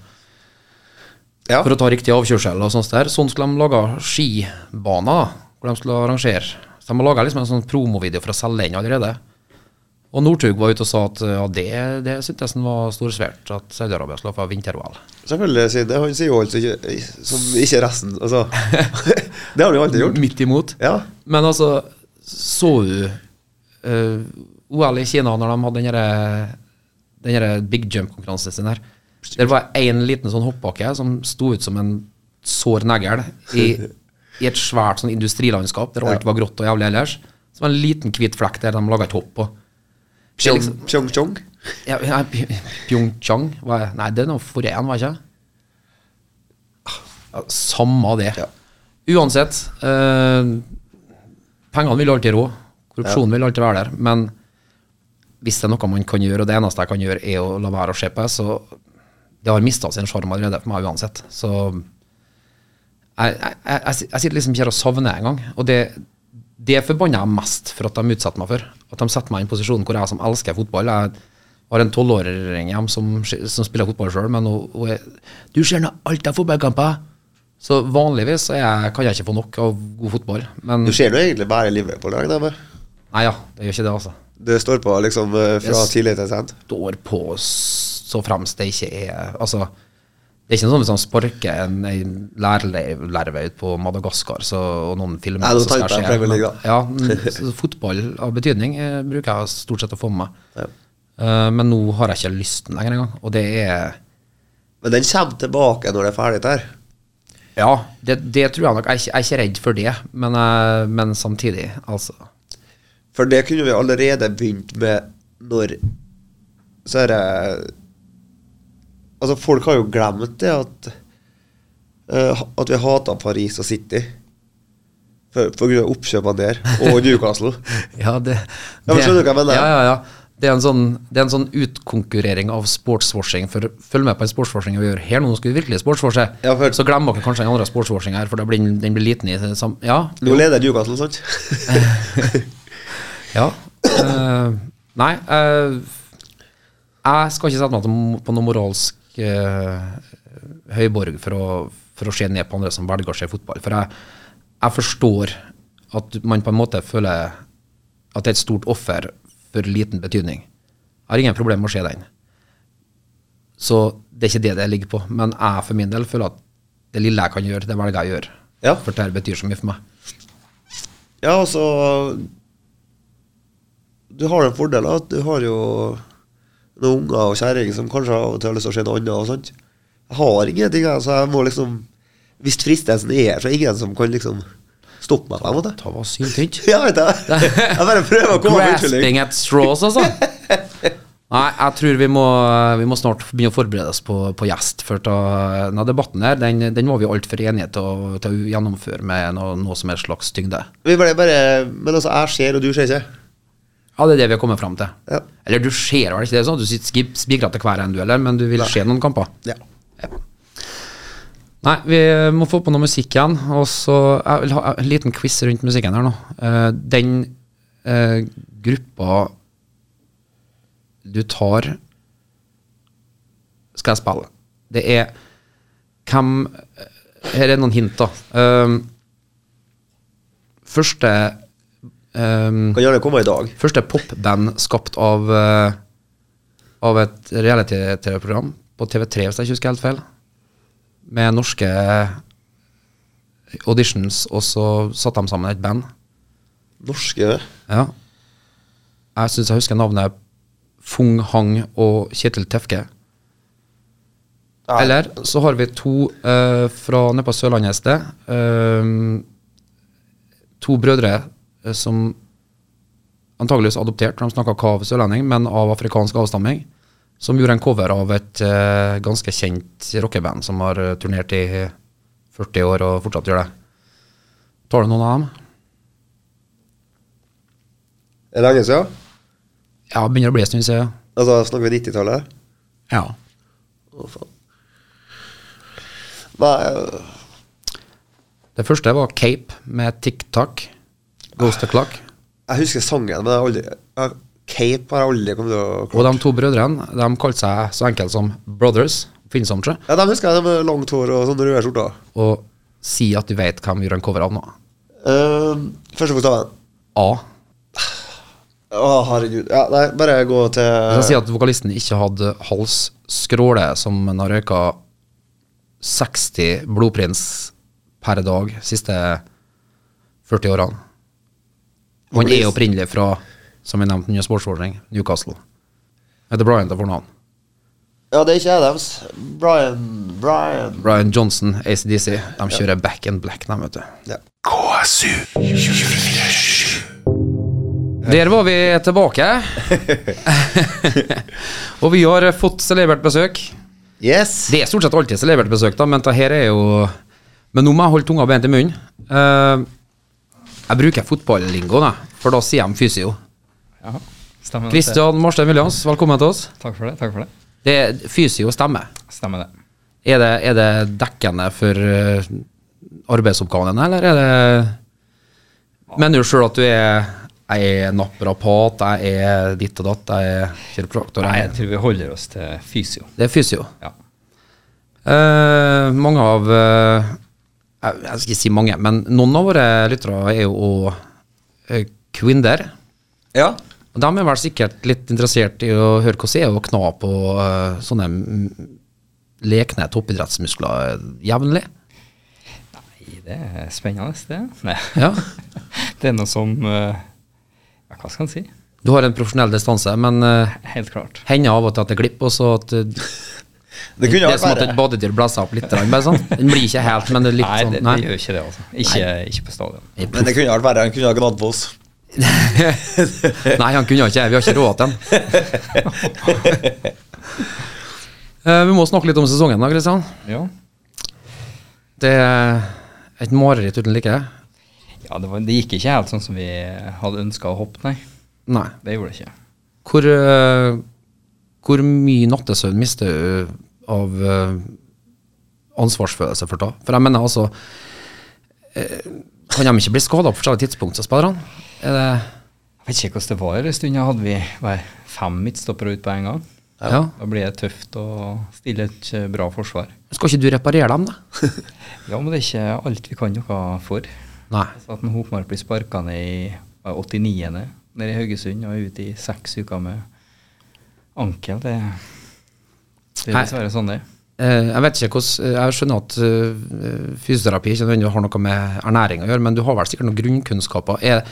[SPEAKER 2] Ja.
[SPEAKER 1] for å ta riktig avkjørsel og sånt der. Sånn skulle de lage skibaner, da, hvor de skulle arrangere. Så de har laga liksom en sånn promovideo for å selge den allerede. Og Northug var ute og sa at ja, det, det syntes han var storsvært, at Saudi-Arabia skulle få vinter-OL.
[SPEAKER 2] Selvfølgelig sier det. Han sier jo alt som ikke, som ikke resten. Altså. det har han jo alltid gjort.
[SPEAKER 1] Midt imot.
[SPEAKER 2] Ja.
[SPEAKER 1] Men altså, så du eh, OL i Kina når de hadde den derre- den derre big jump-konkurransen sin her? Der var én liten sånn hoppbakke som sto ut som en sår negl i, i et svært sånn industrilandskap der alt var grått og jævlig ellers. Så var det en liten hvit flekk der de laga et hopp på. Det er
[SPEAKER 2] Chong,
[SPEAKER 1] liksom-
[SPEAKER 2] chong, chong.
[SPEAKER 1] Ja, nei, Py- Pyeongchang var jeg- Nei, det er noe foren, var ikke det? Ja, Samme det. Uansett. Eh, pengene vil alltid rå. Korrupsjonen vil alltid være der. Men hvis det er noe man kan gjøre, og det eneste jeg kan gjøre, er å la være å se på, så det har mista sin sjarm allerede for meg uansett. Så jeg, jeg, jeg, jeg sitter liksom ikke her og savner engang. Og det, det forbanner jeg mest for at de utsetter meg for. At de setter meg i en posisjon hvor jeg som elsker fotball Jeg har en tolvåring hjemme som, som spiller fotball sjøl, men hun, hun er Du ser nå alt av fotballkamper! Så vanligvis er jeg, kan jeg ikke få nok av god fotball. Men
[SPEAKER 2] Du ser jo egentlig bare Liverpool i dag, da, men
[SPEAKER 1] nei ja, det gjør ikke det, altså.
[SPEAKER 2] det står på liksom eh, fra
[SPEAKER 1] Yes.
[SPEAKER 2] tidlig til sent.
[SPEAKER 1] Står på s- så fremst det ikke er Altså, det er ikke noe sånn som sparker en, en lærle- larve ut på Madagaskar så, og noen filmer
[SPEAKER 2] Nei, nå
[SPEAKER 1] så skal
[SPEAKER 2] tenkte jeg
[SPEAKER 1] skje,
[SPEAKER 2] Premier League, da.
[SPEAKER 1] men- Ja, n- så fotball av betydning eh, bruker jeg stort sett å få med meg.
[SPEAKER 2] Ja.
[SPEAKER 1] Eh, men nå har jeg ikke lysten lenger engang. Og det er
[SPEAKER 2] Men den kommer tilbake når det er ferdig der.
[SPEAKER 1] Ja, det, det tror jeg nok. Jeg er ikke, jeg er ikke redd for det, men, eh, men samtidig, altså.
[SPEAKER 2] For det kunne vi allerede begynt med når Så er det Altså, folk har jo glemt det at eh, At vi hata Paris og City. For, for grunn av oppkjøpene der, og Newcastle.
[SPEAKER 1] Ja, det,
[SPEAKER 2] Ja, men skjønner du hva jeg mener?
[SPEAKER 1] Ja, ja, ja. Det er, en sånn, det er en sånn utkonkurrering av sportswashing. For følg med på den sportswashinga vi gjør her nå, nå skal vi virkelig sportswashe.
[SPEAKER 2] Ja, for-
[SPEAKER 1] Så glemmer dere kanskje den andre sportswashinga her, for da blir den, den blir liten i det sam- Ja.
[SPEAKER 2] Nå leder Newcastle, sant?
[SPEAKER 1] ja. Eh, nei, eh, jeg skal ikke sette meg til- på noen moralsk eh, høyborg for å, for å se ned på andre som velger å se fotball. For jeg, jeg forstår at man på en måte føler at det er et stort offer for liten betydning. Jeg har ingen problemer med å se den. Så det er ikke det det ligger på. Men jeg for min del føler at det lille jeg kan gjøre, det velger jeg å gjøre.
[SPEAKER 2] Ja.
[SPEAKER 1] For dette betyr så mye for meg.
[SPEAKER 2] Ja, altså Du har den fordelen at du har jo noen unger og kjerring som kanskje av og til har lyst til å se noe annet. og sånt. Jeg har ingenting, jeg, så jeg må liksom Hvis fristelsen er her, så er det ingen som kan liksom stoppe meg. på en måte.
[SPEAKER 1] Ta var syltynt.
[SPEAKER 2] Ja, vet jeg. Jeg bare prøver å komme med unnskyldning.
[SPEAKER 1] Grasping at straws, altså. Nei, jeg tror vi må, vi må snart begynne å forberede oss på, på gjest. For ta, denne debatten her, den, den var vi altfor enige til å, til å gjennomføre med noe, noe som er slags tyngde.
[SPEAKER 2] Vi ble bare, men altså, jeg ser, og du ser ikke.
[SPEAKER 1] Ja, det er det vi har kommet fram til.
[SPEAKER 2] Ja.
[SPEAKER 1] Eller du ser vel ikke det sånn, at du sitter skib- spikret til hver en du, eller, men du vil se noen kamper.
[SPEAKER 2] Ja.
[SPEAKER 1] Nei, vi må få på noe musikk igjen. Og så Jeg vil ha en liten quiz rundt musikken her nå. Eh, den eh, gruppa du tar, skal jeg spille. Det er hvem eh, Her er noen hint, da. Eh, første eh,
[SPEAKER 2] Kan gjerne komme i dag.
[SPEAKER 1] Første popband skapt av eh, Av et reality-TV-program på TV3, hvis jeg ikke husker helt feil. Med norske auditions, og så satte de sammen et band.
[SPEAKER 2] Norske
[SPEAKER 1] Ja. Jeg syns jeg husker navnet Fung Hang og Kjetil Tefke.
[SPEAKER 2] Ja.
[SPEAKER 1] Eller så har vi to eh, fra nede på Sørlandet et sted. eh, to brødre eh, som antageligvis adoptert, for de snakka ikke av sørlending, men av afrikansk avstamming. Som gjorde en cover av et eh, ganske kjent rockeband som har eh, turnert i 40 år og fortsatt gjør det. Tar du noen av dem?
[SPEAKER 2] Er det lenge siden?
[SPEAKER 1] Ja, begynner å bli en stund siden.
[SPEAKER 2] Altså, snakker vi 90-tallet?
[SPEAKER 1] Ja.
[SPEAKER 2] Å, faen. Nei,
[SPEAKER 1] Det første var Cape med TikTok. Ghost the Clock.
[SPEAKER 2] Jeg husker sangen, men jeg har aldri jeg, Cape har jeg aldri kommet til å
[SPEAKER 1] Og de to brødrene de kalte seg så enkelt som Brothers. Finnes de ikke?
[SPEAKER 2] Ja, De husker jeg, de med langt hår og sånne røde skjorter.
[SPEAKER 1] Og si at du vet hvem gjør en cover av nå.
[SPEAKER 2] Ehm, første bokstaven.
[SPEAKER 1] A.
[SPEAKER 2] Å, herregud. Ja, nei, bare gå
[SPEAKER 1] Hvis
[SPEAKER 2] til
[SPEAKER 1] jeg sier at vokalisten ikke hadde hals, skråle som han har røyka 60 blodprins per dag siste 40 årene. Og han er opprinnelig fra, som vi nevnte, Nye Sportsordning, Newcastle. Heter Brian til fornavn.
[SPEAKER 2] Ja, det er ikke jeg deres. Brian Brian
[SPEAKER 1] Brian Johnson, ACDC. De kjører back in black, de, vet du.
[SPEAKER 2] ja.
[SPEAKER 4] KSU.
[SPEAKER 1] Der var vi tilbake. og vi har fått celebert besøk.
[SPEAKER 2] Yes!
[SPEAKER 1] Det er stort sett alltid celebert besøk, da, men det her er jo Men nå må jeg holde tunga beint i munnen. Eh, jeg bruker fotballingoen, jeg, for da sier de fysio.
[SPEAKER 5] Ja, stemmer det.
[SPEAKER 1] Kristian Marstein Williams, velkommen til oss.
[SPEAKER 5] Takk for det. takk for det.
[SPEAKER 1] Det er fysio stemmer.
[SPEAKER 5] Stemmer det.
[SPEAKER 1] Er det, er det dekkende for eh, arbeidsoppgavene, eller er det Mener du sjøl at du er jeg er naprapat, jeg er ditt og datt, jeg er kiropraktor
[SPEAKER 5] Nei, jeg
[SPEAKER 1] jeg er-
[SPEAKER 5] tror vi holder oss til fysio.
[SPEAKER 1] Det er fysio.
[SPEAKER 5] Ja.
[SPEAKER 1] Eh, mange av eh, Jeg jeg skal ikke si mange, men noen av våre lyttere er jo òg kvinner.
[SPEAKER 2] Ja.
[SPEAKER 1] Og de er vel sikkert litt interessert i å høre hvordan det er å kna på eh, sånne mm, lekne toppidrettsmuskler jevnlig.
[SPEAKER 5] Nei, Det er spennende, det. Nei.
[SPEAKER 1] Ja.
[SPEAKER 5] Det er noe som eh, Ja, hva skal en si?
[SPEAKER 1] Du har en profesjonell distanse, men eh,
[SPEAKER 5] Helt klart.
[SPEAKER 1] hender av og til at det glipper. og så at eh,
[SPEAKER 2] Det
[SPEAKER 1] det
[SPEAKER 2] kunne
[SPEAKER 1] er
[SPEAKER 2] vært
[SPEAKER 1] som at et
[SPEAKER 2] verre.
[SPEAKER 1] badedyr blåser opp litt. Bare sånn. Den blir ikke helt, men det er litt
[SPEAKER 5] Nei,
[SPEAKER 1] sånn
[SPEAKER 5] det, det gjør ikke det, altså. Ikke, ikke på stadion.
[SPEAKER 2] Men det kunne vært verre. Han kunne ha gnadd på oss.
[SPEAKER 1] Nei, han kunne ikke det. Vi har ikke råd til den. Eh, Vi må snakke litt om sesongen, da, Kristian.
[SPEAKER 5] Ja.
[SPEAKER 1] Det er et mareritt uten like.
[SPEAKER 5] ja det, var, det gikk ikke helt sånn som vi hadde ønska å hoppe, nei.
[SPEAKER 1] Nei.
[SPEAKER 5] Det gjorde det ikke.
[SPEAKER 1] Hvor, eh, hvor mye nattesøvn mister du av eh, ansvarsfølelse for det? For jeg mener altså eh, Kan de ikke bli skada på forskjellige tidspunkt, så spillerne? Er det
[SPEAKER 5] Jeg vet ikke hvordan det var en stund. Hadde vi hva, fem midtstoppere ut på en gang?
[SPEAKER 1] Ja.
[SPEAKER 5] Da blir det tøft å stille et eh, bra forsvar.
[SPEAKER 1] Skal ikke du reparere dem, da?
[SPEAKER 5] Ja, men det er ikke alt vi kan noe for.
[SPEAKER 1] Nei.
[SPEAKER 5] Altså at en Hopmark blir sparka ned i hva, 89. nede i Haugesund og er ute i seks uker med ankel, det, det er
[SPEAKER 1] Nei.
[SPEAKER 5] dessverre sånn det er.
[SPEAKER 1] Eh, Jeg vet ikke hvordan, jeg skjønner at eh, fysioterapi ikke nødvendigvis har noe med ernæring å gjøre, men du har vel sikkert noen grunnkunnskaper. Er,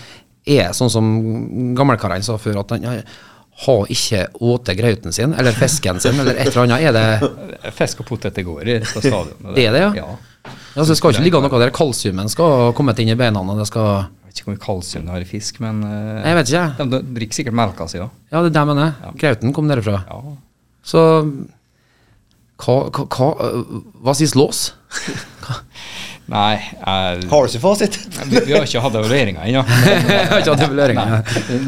[SPEAKER 1] er sånn som gammelkarene sa før, at han ja, har ikke åte grauten sin, eller fisken sin, eller et eller annet. Er det
[SPEAKER 5] Fisk og poteter går i resten av stadionet.
[SPEAKER 1] Det er det, ja?
[SPEAKER 5] ja.
[SPEAKER 1] altså, Det skal ikke ligge noe der kalsiumen skal ha kommet inn i beina, og det skal
[SPEAKER 5] Jeg vet ikke hvor mye kalsium det har i fisk, men eh,
[SPEAKER 1] Nei, Jeg vet ikke, jeg.
[SPEAKER 5] de, de drikker sikkert melka si, da.
[SPEAKER 1] Ja, det er det jeg mener. Grauten kom derifra.
[SPEAKER 5] Ja.
[SPEAKER 1] Så hva, hva, hva, hva sies lås?
[SPEAKER 5] Nei, jeg,
[SPEAKER 2] Har du ikke fasit?
[SPEAKER 5] vi, vi har ikke hatt evalueringa ennå.
[SPEAKER 1] Jeg har ikke hatt evaluering.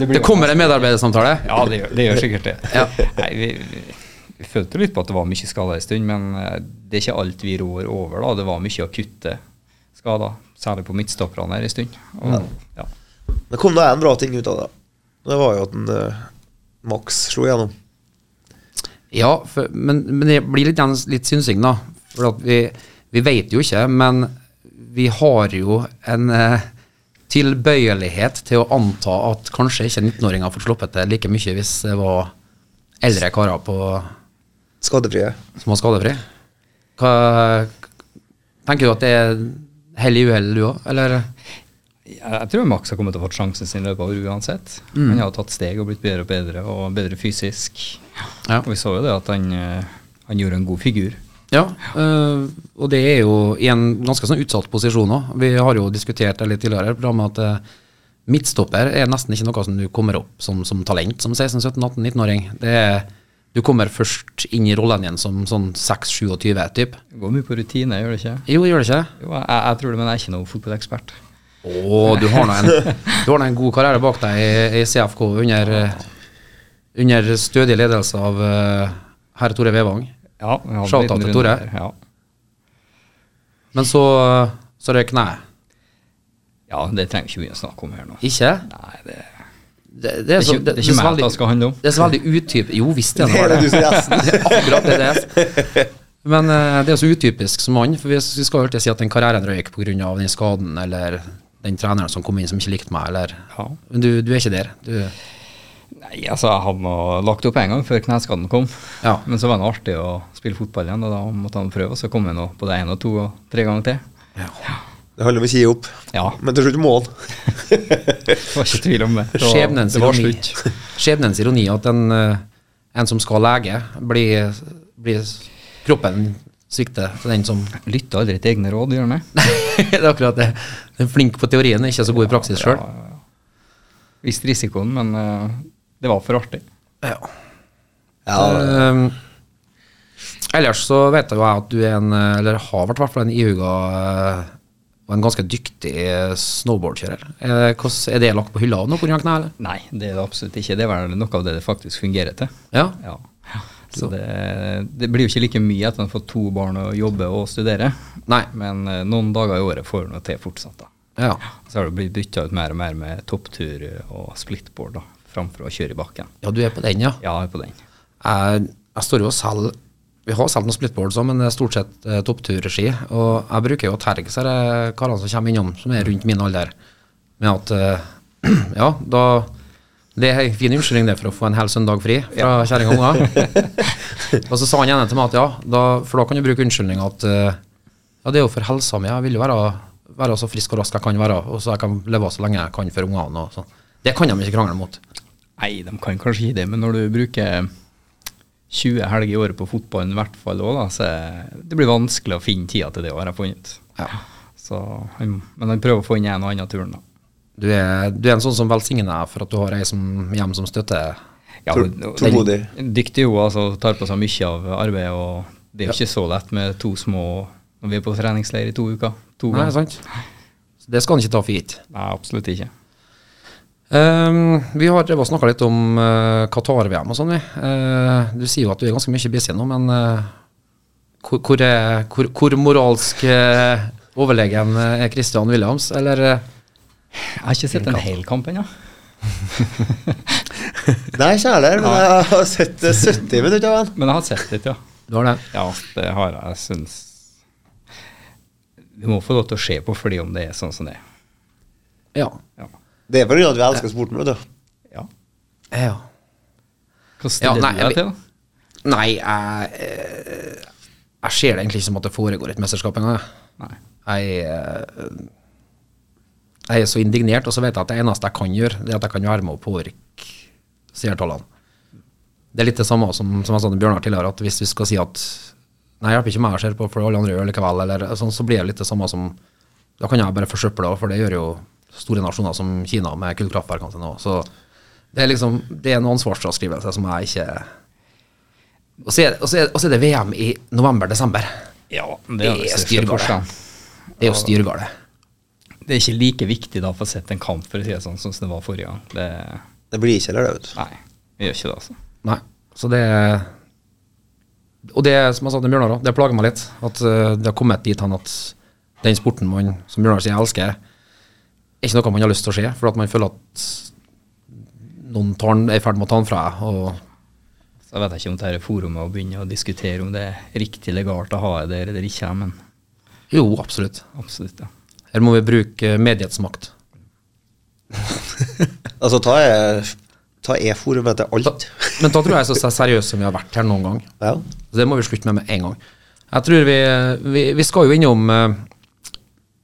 [SPEAKER 5] det blir-
[SPEAKER 1] Det kommer en medarbeidersamtale.
[SPEAKER 5] Ja, det gjør, det gjør sikkert det.
[SPEAKER 1] Ja.
[SPEAKER 5] Nei, vi, vi- vi følte litt på at det var mye skader en stund, men eh, det er ikke alt vi rår over. da. Det var mye akutte skader, særlig på midtstopperne her en stund. Og, ja.
[SPEAKER 2] Det kom da en bra ting ut av det. Det var jo at en, eh, Max slo igjennom.
[SPEAKER 1] Ja, for, men, men det blir litt, den- litt synsing, da. For at vi, vi vet jo ikke, men vi har jo en eh, tilbøyelighet til å anta at kanskje ikke 19-åringer har fått sluppet det like mye hvis det var eldre karer på,
[SPEAKER 2] Skadefrie.
[SPEAKER 1] som var skadefri. Hva, tenker du at det er hell i uhell, du òg, eller?
[SPEAKER 5] Jeg, jeg tror Max har kommet til å fått sjansen sin i løpet av året uansett.
[SPEAKER 1] Mm.
[SPEAKER 5] Han har jo tatt steg og blitt bedre og bedre, og bedre fysisk.
[SPEAKER 1] Ja.
[SPEAKER 5] Og vi så jo det at han, eh, han gjorde en god figur.
[SPEAKER 1] Ja, øh, og det er jo i en ganske sånn utsatt posisjon òg. Vi har jo diskutert det litt tidligere, det med at eh, midtstopper er nesten ikke noe som du kommer opp som, som talent som 16-17-18-19-åring. Det er- Du kommer først inn i rollen igjen som sånn 6-27-type.
[SPEAKER 5] Det går mye på rutine, gjør det ikke?
[SPEAKER 1] Jo, gjør det ikke det?
[SPEAKER 5] Jo, jeg, jeg tror det, men jeg er ikke noen fotballekspert.
[SPEAKER 1] Å, du har nå en, du har nå en god karriere bak deg i, i CFK under, eh, under stødig ledelse av eh, herr Tore Vevang.
[SPEAKER 5] Ja, vi hadde en
[SPEAKER 1] Shout-out
[SPEAKER 5] liten
[SPEAKER 1] til
[SPEAKER 5] runde
[SPEAKER 1] Tore.
[SPEAKER 5] der, Ja.
[SPEAKER 1] Men så, så røyk kneet.
[SPEAKER 5] ja, det trenger vi ikke mye å snakke om her nå.
[SPEAKER 1] Ikke?
[SPEAKER 5] Nei, det
[SPEAKER 1] Det, det er,
[SPEAKER 5] Det er
[SPEAKER 1] så,
[SPEAKER 5] ikke-
[SPEAKER 1] altså, det,
[SPEAKER 5] det er
[SPEAKER 1] det er så
[SPEAKER 5] ikke meg
[SPEAKER 1] veldig-
[SPEAKER 5] det skal handle om.
[SPEAKER 1] Det er så veldig utyp... Jo visst er
[SPEAKER 2] Det
[SPEAKER 1] det
[SPEAKER 2] er
[SPEAKER 1] det.
[SPEAKER 2] det du som er gjesten.
[SPEAKER 1] Det er akkurat det det er. Men eh, det er så utypisk som mann, for vi s- vi skal jo alltid si at den karrieren røyk pga. den skaden eller den treneren som kom inn som ikke likte meg, eller
[SPEAKER 5] Ja.
[SPEAKER 1] Men du, du er ikke der. Du,
[SPEAKER 5] Nei, altså jeg hadde nå lagt opp en gang før kneskaden kom.
[SPEAKER 1] Ja.
[SPEAKER 5] Men så var det artig å spille fotball igjen, og da måtte han prøve. Og så kom jeg nå både én og to og tre ganger til.
[SPEAKER 2] Det handler om å ikke gi opp.
[SPEAKER 5] Ja,
[SPEAKER 2] Men til slutt må han.
[SPEAKER 5] det var ikke tvil om det. Det var-
[SPEAKER 1] skjebnens
[SPEAKER 5] det var
[SPEAKER 1] ironi.
[SPEAKER 5] slutt.
[SPEAKER 1] Skjebnens ironi at en, eh, en som skal lege, blir, blir kroppen svikter til den som
[SPEAKER 5] Lytter aldri til egne råd, gjør han det?
[SPEAKER 1] Det er akkurat det. Den er flink på teorien, er ikke så god i praksis sjøl.
[SPEAKER 5] Visste risikoen, men eh, det var for artig.
[SPEAKER 1] Ehm, ellers så vet jeg jo jeg at du er en, eh, eller har vært i hvert fall en ihuga eh, og en ganske dyktig eh, snowboardkjører. Eh, hvordan- Er det lagt på hylla nå pga. kneet, eller?
[SPEAKER 5] Nei, det er det absolutt ikke. Det er vel noe av det det faktisk fungerer til.
[SPEAKER 1] Ja.
[SPEAKER 5] Ja. Så det, det blir jo ikke like mye etter at man har fått to barn og jobber og studere.
[SPEAKER 1] Nei.
[SPEAKER 5] Men eh, noen dager i året får man til fortsatt, da.
[SPEAKER 1] ja.
[SPEAKER 5] Så har det blitt bytta ut mer og mer med topptur og splitboard da, framfor å kjøre i bakken.
[SPEAKER 1] Ja, du er på den, ja.
[SPEAKER 5] Ja, jeg er på den.
[SPEAKER 1] Jeg, jeg står jo og selger Vi har solgt noen splitboards òg, men det er stort sett eh, toppturski. Og jeg bruker jo å terge disse her karene som kommer innom, som er rundt min alder, med at eh, ja, da det er en fin unnskyldning det for å få en hel søndag fri fra kjerring og unger. og så sa han ene til meg at ja, da, for da kan du bruke unnskyldninga at eh, ja, det er jo for helsa mi, jeg vil jo være, være så frisk og rask jeg kan være, og så jeg kan leve så lenge jeg kan for ungene og sånn. Det kan de ikke krangle mot.
[SPEAKER 5] Nei, de kan kanskje ikke det, men når du bruker 20 helger i året på fotballen, i hvert fall òg, da, så er- det blir vanskelig å finne tida til det, har jeg funnet ut.
[SPEAKER 1] Ja.
[SPEAKER 5] Så han- Men han prøver å få inn en og annen turn, da.
[SPEAKER 1] Du er, du er en sånn som velsigner deg for at du har ei som, hjem som støtter deg.
[SPEAKER 5] Ja,
[SPEAKER 2] Tro-
[SPEAKER 5] men- og-
[SPEAKER 2] tålmodig.
[SPEAKER 5] Altså, den- Dyktig hun, altså. Tar på seg mye av arbeidet. Og det er jo ikke så lett med to små når vi er på treningsleir i to uker. To
[SPEAKER 1] Nei,
[SPEAKER 5] ganger.
[SPEAKER 1] sant? Så det skal han ikke ta for gitt.
[SPEAKER 5] Nei, absolutt ikke.
[SPEAKER 1] Ehm, vi har drevet og snakka litt om eh, Qatar-VM og sånn, vi. Eh, du sier jo at du er ganske mye busy nå, men eh, hvor, hvor, er, hvor, hvor moralsk eh, overlegen eh, er Christian Williams, eller eh,
[SPEAKER 5] Jeg har ikke sett en hel kamp ennå.
[SPEAKER 2] Nei, ikke jeg heller, men jeg har sett eh, 70 minutter av han.
[SPEAKER 5] Men jeg har sett litt, ja.
[SPEAKER 1] Du har det?
[SPEAKER 5] Ja, det har jeg. Jeg syns Vi må få lov til å se på fordi om det er sånn som det er.
[SPEAKER 1] Ja.
[SPEAKER 5] Ja.
[SPEAKER 2] Det er på grunn av at vi elsker sporten, vet du.
[SPEAKER 5] ja.
[SPEAKER 1] ja.
[SPEAKER 5] Hva
[SPEAKER 1] Ja,
[SPEAKER 5] stiller
[SPEAKER 1] nei,
[SPEAKER 5] du deg
[SPEAKER 1] jeg-
[SPEAKER 5] til, da?
[SPEAKER 1] Nei, jeg, eh, jeg ser det egentlig ikke som at det foregår et mesterskap engang. jeg.
[SPEAKER 5] Nei.
[SPEAKER 1] Jeg, eh, jeg er så indignert, og så vet jeg at det eneste jeg kan gjøre, det er at jeg kan være med og påvirke seertallene. Det er litt det samme som, som jeg sa til Bjørnar tidligere, at hvis vi skal si at nei, hjelper ikke meg å se på, for alle andre gjør det likevel, eller sånn, så blir det litt det samme som Da kan jeg bare forsøple det, for det gjør jo store nasjoner som Kina med kullkraftverkene sine òg. Så det er liksom Det er en ansvarsfraskrivelse som jeg ikke Og så er, og så er, og så er det VM i november-desember.
[SPEAKER 5] Ja,
[SPEAKER 1] Det
[SPEAKER 5] den
[SPEAKER 1] er
[SPEAKER 5] største
[SPEAKER 1] styrgale.
[SPEAKER 5] forskjellen.
[SPEAKER 1] Det er jo styrgale.
[SPEAKER 5] Det er ikke like viktig da å få sett en kamp for å si det sånn, sånn som det var forrige gang. Det,
[SPEAKER 2] Det blir ikke heller det, vet du.
[SPEAKER 5] nei, vi gjør ikke det, altså.
[SPEAKER 1] Nei, så det Og det som jeg sa til Bjørnar, også, det plager meg litt. At eh, det har kommet dit hen at den sporten man, som Bjørnar sier, elsker, er ikke noe man har lyst til å se. For at man føler at noen tar den, er i ferd med å ta den fra deg. Og
[SPEAKER 5] Så jeg vet ikke om dette forumet å begynne å diskutere om det er riktig legalt å ha det der eller ikke, men
[SPEAKER 1] jo, absolutt.
[SPEAKER 5] absolutt, ja.
[SPEAKER 1] Her må vi bruke mediets makt.
[SPEAKER 2] Altså, ta e- ta e-forumet til
[SPEAKER 1] Da,
[SPEAKER 2] alt.
[SPEAKER 1] men da tror jeg jeg er så seriøs som vi har vært her noen gang.
[SPEAKER 2] Ja.
[SPEAKER 1] Så det må vi slutte med med en gang. Jeg tror vi, vi, vi skal jo innom, eh,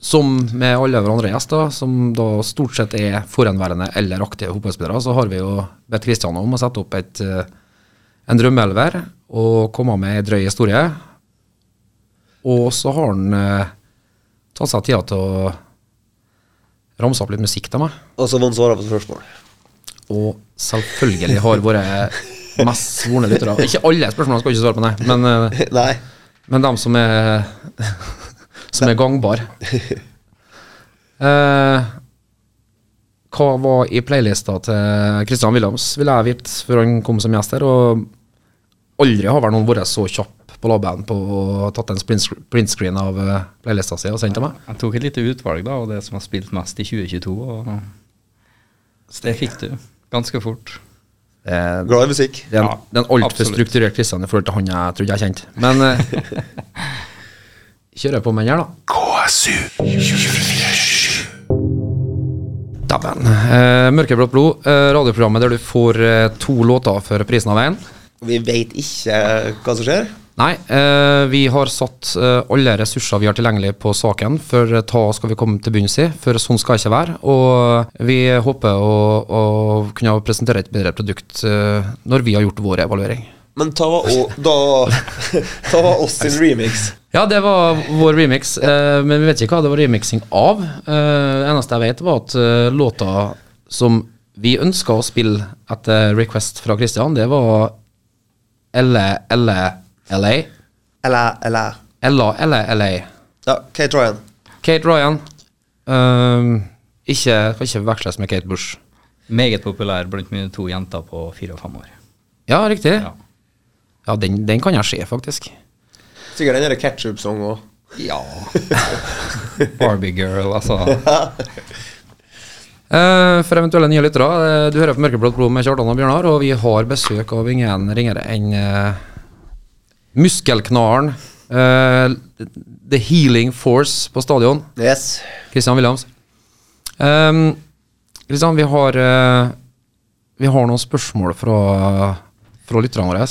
[SPEAKER 1] som med alle hverandre gjester, som da stort sett er forhenværende eller aktive fotballspillere, så har vi jo bedt Kristian om å sette opp et, eh, en drømmeelver og komme med ei drøy historie. Og så har han eh, tatt seg tida til å ramse opp litt musikk til meg.
[SPEAKER 2] Og så vant svaret på spørsmål.
[SPEAKER 1] Og selvfølgelig har våre mest svorne lyttere Ikke alle spørsmålene skal jeg ikke svare på, nei. Men eh,
[SPEAKER 2] Nei.
[SPEAKER 1] men dem som er Som er gangbare. Eh, hva var i playlista til Christian Williams, ville jeg vite før han kom som gjest her. Og aldri har vel noen vært så kjapp på labben på å tatt en splint sc- printscreen av eh, playlista si og sendt til meg.
[SPEAKER 5] Jeg tok et lite utvalg, da, og det som har spilt mest i 2022, og så det fikk du ganske fort.
[SPEAKER 1] Eh,
[SPEAKER 2] Glad i musikk.
[SPEAKER 1] Det er en,
[SPEAKER 5] Ja,
[SPEAKER 1] det er en altfor
[SPEAKER 5] absolutt.
[SPEAKER 1] strukturert Kristian i forhold til han jeg trodde jeg kjente. Men eh, kjører på med den her, da. KSU Dæven. Eh, Mørkeblått blod, eh, radioprogrammet der du får eh, to låter for prisen av én.
[SPEAKER 2] Vi veit ikke hva som skjer.
[SPEAKER 1] Nei, eh, vi har satt eh, alle ressurser vi har tilgjengelig på saken, for eh, ta skal vi komme til bunns i, for sånn skal det ikke være. Og eh, vi håper å, å kunne presentere et bedre produkt eh, når vi har gjort vår evaluering.
[SPEAKER 2] Men ta og, da Ta oss sin remix.
[SPEAKER 1] Ja, det var vår remix, eh, men vi vet ikke hva det var remixing av. Eh, Det eneste jeg vet, var at eh, låta som vi ønska å spille etter request fra Christian, det var Elle, Elle, LA.
[SPEAKER 2] Eller, eller
[SPEAKER 1] Ella, Elle, LA.
[SPEAKER 2] Ja, Kate Ryan.
[SPEAKER 1] Kate Ryan. Eh, ikke, kan ikke veksles med Kate Bush.
[SPEAKER 5] Meget populær blant mine to jenter på fire og fem år.
[SPEAKER 1] Ja, riktig.
[SPEAKER 5] Ja.
[SPEAKER 1] Ja, den, den kan jeg se, faktisk.
[SPEAKER 2] Sikkert den derre ketchup-song òg.
[SPEAKER 5] ja. Barbie girl, altså.
[SPEAKER 1] Eh, For eventuelle nye lyttere, eh, du hører på Mørkeblått blod med Kjartan og Bjørnar, og vi har besøk av ingen ringere enn eh, muskelknaren, eh, The Healing Force på stadion,
[SPEAKER 2] Yes.
[SPEAKER 1] Christian Williams. Um, Christian, vi har, eh, vi har noen spørsmål fra, fra lytterne våre.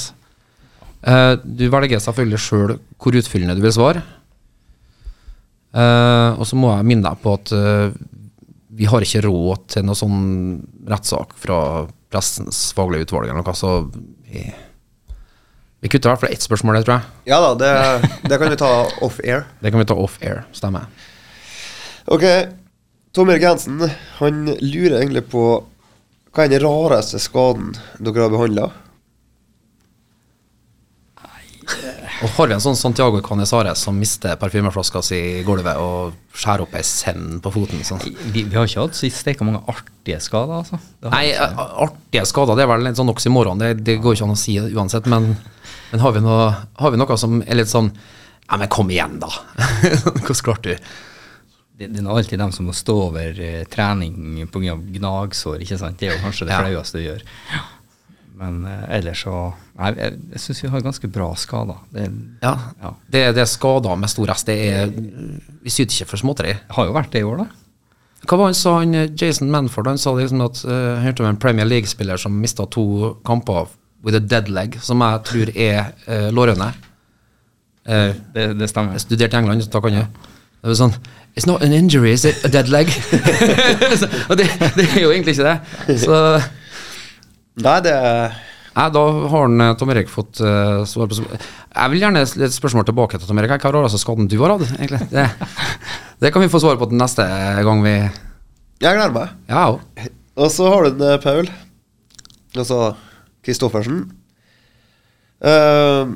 [SPEAKER 1] Eh, du velger selvfølgelig sjøl hvor utfyllende du vil svare. Eh, og så må jeg minne deg på at eh, vi har ikke råd til noe sånn rettssak fra pressens faglige utvalg eller noe, så vi, vi kutter i hvert fall ett spørsmål, det tror jeg.
[SPEAKER 2] Ja da, det, det kan vi ta off air.
[SPEAKER 1] Det kan vi ta off air, stemmer.
[SPEAKER 2] Ok, Tom Erik Jensen han lurer egentlig på hva er den rareste skaden dere har behandla?
[SPEAKER 1] Og har vi en sånn Santiago Canizares som mister parfymeflaska si i gulvet og skjærer opp ei send på foten? Sånn.
[SPEAKER 5] Vi, vi har ikke hatt så steika mange artige skader, altså. Det har-
[SPEAKER 1] Nei, a- artige skader, det er vel en sånn oksymoron, det, det går ikke an å si uansett. Men, men har, vi noe, har vi noe som er litt sånn Nei, men kom igjen, da! Hvordan klarte du?
[SPEAKER 5] Det, det er nå alltid dem som må stå over eh, trening pga. gnagsår, ikke sant. Det er jo kanskje
[SPEAKER 1] Ja.
[SPEAKER 5] det flaueste du gjør. Men eh, ellers så Nei, jeg, jeg syns vi har ganske bra skader. Det,
[SPEAKER 1] Ja,
[SPEAKER 5] Ja.
[SPEAKER 1] det, det er skader med stor S. Det er, vi syter ikke for småtteri.
[SPEAKER 5] har jo vært det i år, da.
[SPEAKER 1] Hva var han sa, han eh, Jason Manford? Han sa liksom at eh, jeg hørte om en Premier League-spiller som mista to kamper with a dead leg, som jeg tror er uh, lårhøne. Eh,
[SPEAKER 5] Det, det stemmer.
[SPEAKER 1] jeg studerte i England, så da kan jeg Det var sånn It's not an injury, is it a dead leg? Så, Og det, det er jo egentlig ikke det. Så
[SPEAKER 2] Nei, det
[SPEAKER 1] Nei, da har han, eh, Tom Erik fått eh, svar på sp- Jeg vil gjerne stille et spørsmål tilbake til Tom Erik. Hva er rareste skaden du har hatt, egentlig? Det, det kan vi få svar på til neste gang vi
[SPEAKER 2] Jeg gleder meg.
[SPEAKER 1] Ja, jo.
[SPEAKER 2] Og så har du en eh, Paul. Altså Kristoffersen. Eh,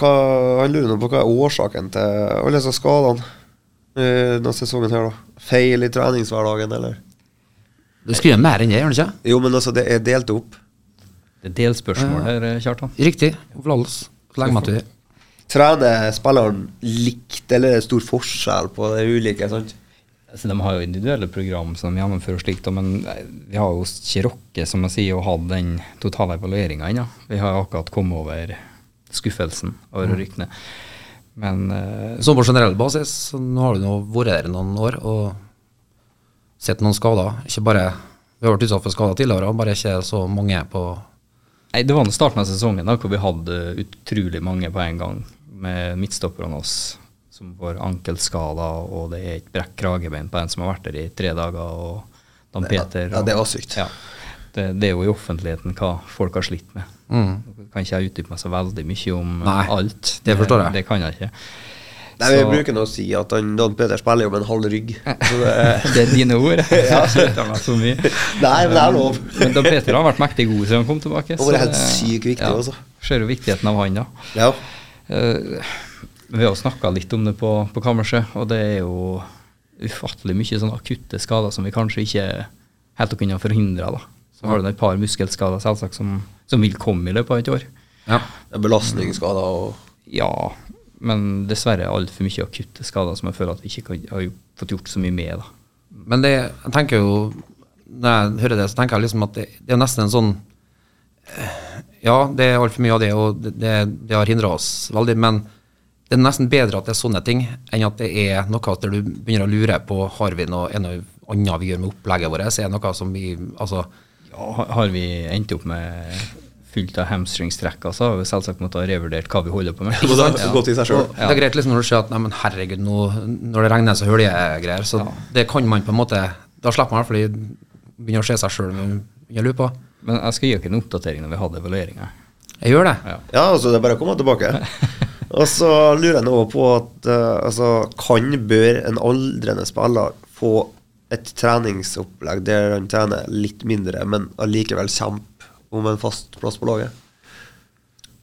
[SPEAKER 2] hva, han lurer nå på hva er årsaken til alle disse skadene eh, denne sesongen her, da. Feil i treningshverdagen, eller?
[SPEAKER 1] Du skriver mer enn det, gjør du ikke?
[SPEAKER 2] Jo, men altså, det er delt opp.
[SPEAKER 5] Det er delspørsmål her, eh, Kjartan.
[SPEAKER 1] Riktig. Overfor alles. Legg meg til.
[SPEAKER 2] Trener spilleren likt, eller er det stor forskjell på de ulike? sant?
[SPEAKER 5] Altså, de har jo individuelle program som de gjennomfører slikt, da, men eh, vi har jo ikke rukket, som jeg sier, å ha den totale evalueringa ennå. Vi har akkurat kommet over skuffelsen over ryktene. Men eh,
[SPEAKER 1] Sånn på generell basis, så nå har du nå vært der noen år og sett noen skader. Ikke bare Vi har vært utsatt for skader tidligere, bare ikke så mange på
[SPEAKER 5] nei, det var nå starten av sesongen da, hvor vi hadde utrolig mange på en gang, med midtstopperne oss som får ankelskader, og det er et brekk kragebein på en som har vært der i tre dager, og Dan Peter
[SPEAKER 2] Ja,
[SPEAKER 5] og-
[SPEAKER 2] det var sykt.
[SPEAKER 5] Ja. Det, det er jo i offentligheten hva folk har slitt med.
[SPEAKER 2] Mm.
[SPEAKER 5] Kan ikke jeg utdype meg så veldig mye om eh,
[SPEAKER 1] Nei,
[SPEAKER 5] alt.
[SPEAKER 1] det forstår jeg.
[SPEAKER 5] Det kan jeg ikke.
[SPEAKER 2] Nei, Vi
[SPEAKER 5] Så-
[SPEAKER 2] bruker nå å si at han, Dan Peter spiller jo med en halv rygg. Så det,
[SPEAKER 5] Det er dine ord. Jeg slutter meg så mye.
[SPEAKER 2] nei, men det er lov.
[SPEAKER 5] Men Dan Peter har vært mektig god siden han kom tilbake.
[SPEAKER 2] Og vært helt sykt viktig, altså.
[SPEAKER 5] Ser jo viktigheten av han, da.
[SPEAKER 2] Ja.
[SPEAKER 5] Eh, vi har snakka litt om det på, på kammerset, og det er jo ufattelig mye sånne akutte skader som vi kanskje ikke helt kunne ha forhindra. Så har du et par muskelskader selvsagt som, som vil komme i løpet av et år.
[SPEAKER 1] Ja.
[SPEAKER 2] Det er Belastningsskader og
[SPEAKER 5] Ja, men dessverre altfor mye akutte skader som jeg føler at vi ikke kan, har jo fått gjort så mye med. da.
[SPEAKER 1] Men det, jeg tenker jo Når jeg hører det, så tenker jeg liksom at det, det er nesten en sånn eh, Ja, det er altfor mye av det, og det, det, det har hindra oss veldig, men det er nesten bedre at det er sånne ting, enn at det er noe der du begynner å lure på har vi noe, er noe annet vi gjør med opplegget vårt. Er det noe som vi Altså,
[SPEAKER 5] Ja, har- har vi endt opp med fullt av hamstringstrekker, så har vi selvsagt måttet ha revurdert hva vi holder på med.
[SPEAKER 2] Må da gå til seg selv.
[SPEAKER 1] Og Det er greit liksom når du ser at nei, men herregud, nå, når det regner, så hører jeg greier. Så det kan man på en måte Da slipper man i hvert fall å begynne å se seg sjøl under lupa.
[SPEAKER 5] Men jeg skal gi dere en oppdatering når vi hadde evalueringa.
[SPEAKER 1] Jeg gjør det.
[SPEAKER 5] Ja.
[SPEAKER 2] Ja, altså, det er bare å komme tilbake. Og så lurer jeg nå på at eh, altså, kan, bør en aldrende spiller få et treningsopplegg der han trener litt mindre, men allikevel kjempe om en fast plass på laget?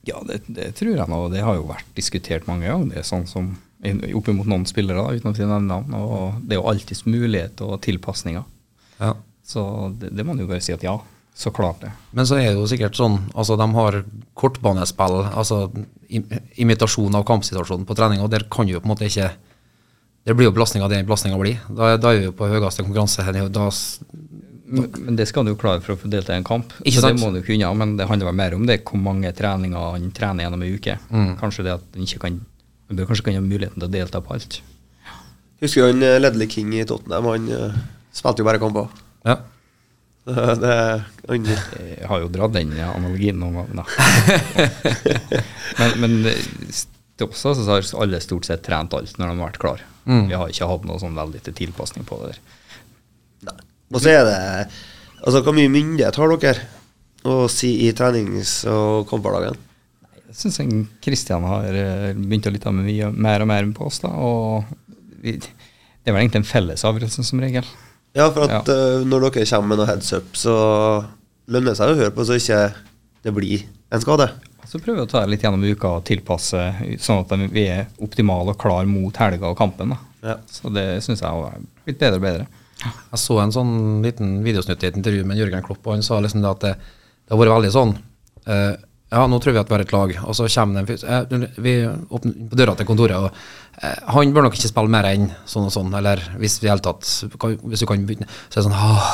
[SPEAKER 5] Ja, det, det tror jeg nå. Det har jo vært diskutert mange ganger. Det er sånn som Oppimot noen spillere, da, uten å si nevne navn. Og det er jo alltids mulighet og tilpasninger.
[SPEAKER 1] Ja.
[SPEAKER 5] Så det, det må man jo bare si at ja, så klart det.
[SPEAKER 1] Men så er det jo sikkert sånn Altså, de har kortbanespill, altså im imitasjon av kampsituasjonen på trening, og der kan du jo på en måte ikke Det blir jo belastninga det belastninga blir. Da, da er vi jo på høyeste konkurranse. her, Da, s-
[SPEAKER 5] Men, men det skal du jo klare for å få delta i en kamp.
[SPEAKER 1] Ikke
[SPEAKER 5] så
[SPEAKER 1] sant?
[SPEAKER 5] det må du kunne, ja, men det handler vel mer om det hvor mange treninger han trener gjennom ei uke.
[SPEAKER 1] Mm.
[SPEAKER 5] Kanskje det at han ikke kan han bør kanskje kan ha muligheten til å delta på alt.
[SPEAKER 2] Husker du han eh, Ledley King i Tottenham? Han eh, spilte jo bare kamper.
[SPEAKER 1] ja.
[SPEAKER 2] Det, han,
[SPEAKER 5] Jeg har jo dratt den analogien noen ganger, da. men men det er også så har alle stort sett trent alt når de har vært klar. Vi har ikke hatt noe sånn veldig til tilpasning på det der.
[SPEAKER 2] Nei. Og så er det Altså, hvor mye myndighet har dere å si i trenings- og kamphverdagen?
[SPEAKER 5] Jeg syns Kristian har eh, begynt å lytte med mye, mer og mer på oss. da, og vi, Det er vel egentlig en felles avgjørelse som regel.
[SPEAKER 2] Ja, for at eh, når dere kommer med noe heads up, så lønner det seg å høre på, så ikke det blir en skade.
[SPEAKER 5] Så prøver vi å ta det litt gjennom uka og tilpasse sånn at de- vi er optimale og klar mot helga og kampen. Da.
[SPEAKER 2] Ja.
[SPEAKER 5] Så det syns jeg har blitt bedre og bedre.
[SPEAKER 1] Jeg så en sånn liten videosnutt i et intervju med Jørgen Klopp, og han sa liksom det at det, det har vært veldig sånn eh, Ja, nå tror vi at vi har et lag, og så kommer det en fyr eh, Vi åpner på døra til kontoret, og eh, han bør nok ikke spille mer enn sånn og sånn, eller hvis vi i det hele tatt kan, Hvis du kan begynne Så er det sånn «Åh,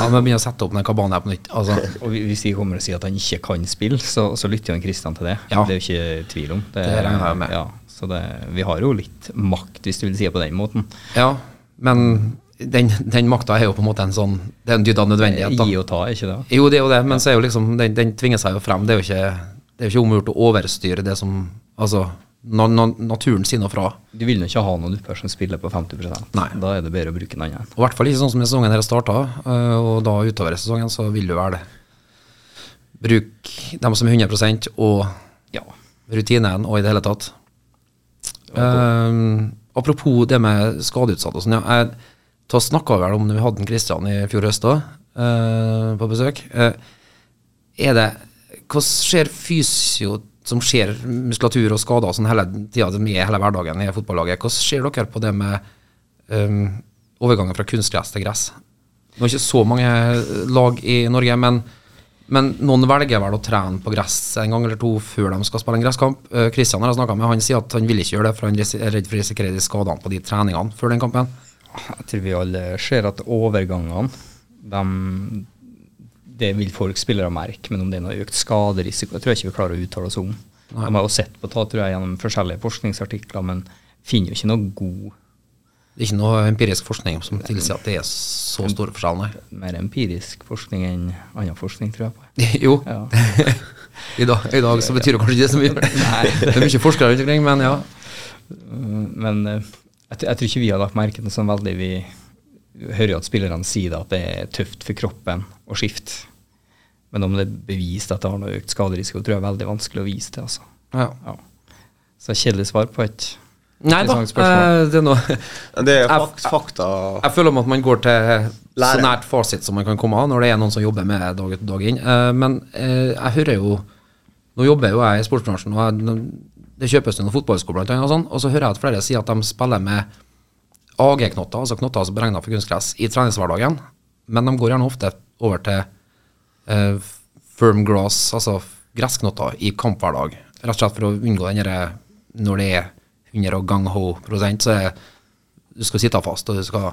[SPEAKER 1] Ja, men begynne å sette opp den kabanen her på nytt. Altså,
[SPEAKER 5] Og vi- hvis de kommer og sier at han ikke kan spille, så, så lytter jo han Kristian til det.
[SPEAKER 1] Ja.
[SPEAKER 5] Det er jo ikke tvil om.
[SPEAKER 1] Det regner jeg med.
[SPEAKER 5] Ja, så det, vi har jo litt makt, hvis du vil si det på den måten.
[SPEAKER 1] ja, men den, den makta er jo på en måte en sånn Det er en dyd av nødvendighet, da.
[SPEAKER 5] Gi og ta, er ikke det?
[SPEAKER 1] Jo, det er jo det, men så er jo liksom, den, den tvinger seg jo frem. Det er jo ikke, det er jo ikke omgjort å overstyre det som Altså, na, na, naturen sier noe fra. Og
[SPEAKER 5] Du vil nå ikke ha noen upper som spiller på 50
[SPEAKER 1] Nei.
[SPEAKER 5] Da er det bedre å bruke en annen.
[SPEAKER 1] i hvert fall ikke sånn som sesongen her starta, øh, og da utover i sesongen, så vil du være det. Bruk dem som er 100 og
[SPEAKER 5] Ja.
[SPEAKER 1] rutinen og i det hele tatt. Ehm, apropos det med skadeutsatte og sånn. Ja, jeg da snakka vel om når vi hadde en Kristian i fjor høst òg, på besøk. Eh, er det Hva skjer fysio som skjer muskulatur og skader og sånn hele tida de er hele hverdagen i fotballaget? Hvordan ser dere på det med ehm, overgangen fra kunstgress til gress? Det er ikke så mange øh, lag i Norge, men, men noen velger vel å trene på gress en gang eller to før de skal spille en gresskamp. Kristian har jeg snakket med, han sier at han vil ikke gjøre det, for han ris- er redd for å risikere de skadene på de treningene før den kampen.
[SPEAKER 5] Jeg tror vi alle ser at overgangene dem- Det vil folk spillere merke, men om det er noe økt skaderisiko, det tror jeg ikke vi klarer å uttale oss om. De har jo sett på det tror jeg, gjennom forskjellige forskningsartikler, men finner jo ikke noe god
[SPEAKER 1] Det er ikke noe empirisk forskning som tilsier at det er så store forskjeller,
[SPEAKER 5] mer empirisk forskning enn annen forskning, tror jeg på.
[SPEAKER 1] nei. Jo,
[SPEAKER 5] Ja.
[SPEAKER 1] i dag, i dag så betyr det kanskje ikke så mye.
[SPEAKER 5] Nei.
[SPEAKER 1] Det er mye forskere rundt omkring, men ja.
[SPEAKER 5] Men eh, jeg, tr- jeg tror ikke vi har lagt merke til det sånn veldig. Vi hører jo at spillerne sier det at det er tøft for kroppen å skifte. Men om det er bevist at det har noe økt skaderisiko, tror jeg er veldig vanskelig å vise til. altså.
[SPEAKER 1] ja.
[SPEAKER 5] Ja. Så kjedelig svar på et
[SPEAKER 1] Nei da,
[SPEAKER 5] Interessant spørsmål.
[SPEAKER 1] eh, det er noe
[SPEAKER 2] Men Det er
[SPEAKER 1] Jeg-
[SPEAKER 2] fakt, fakta.
[SPEAKER 1] Jeg føler om at man går til så
[SPEAKER 2] Lære.
[SPEAKER 1] nært fasit som man kan komme av når det er noen som jobber med det dag ut og dag inn. Eh, Men eh, jeg hører jo Nå jobber jo jeg i sportsbransjen, og jeg, det kjøpes jo noen fotballsko blant annet, og sånn, og så hører jeg at flere sier at de spiller med AG-knotter, altså knotter som er beregna for kunstgress, i treningshverdagen, men de går gjerne ofte over til eh, firm grass, altså gressknotter, i kamphverdag. Rett og slett for å unngå den derre når det er 100 og gang-ho prosent, så er du skal sitte fast, og du skal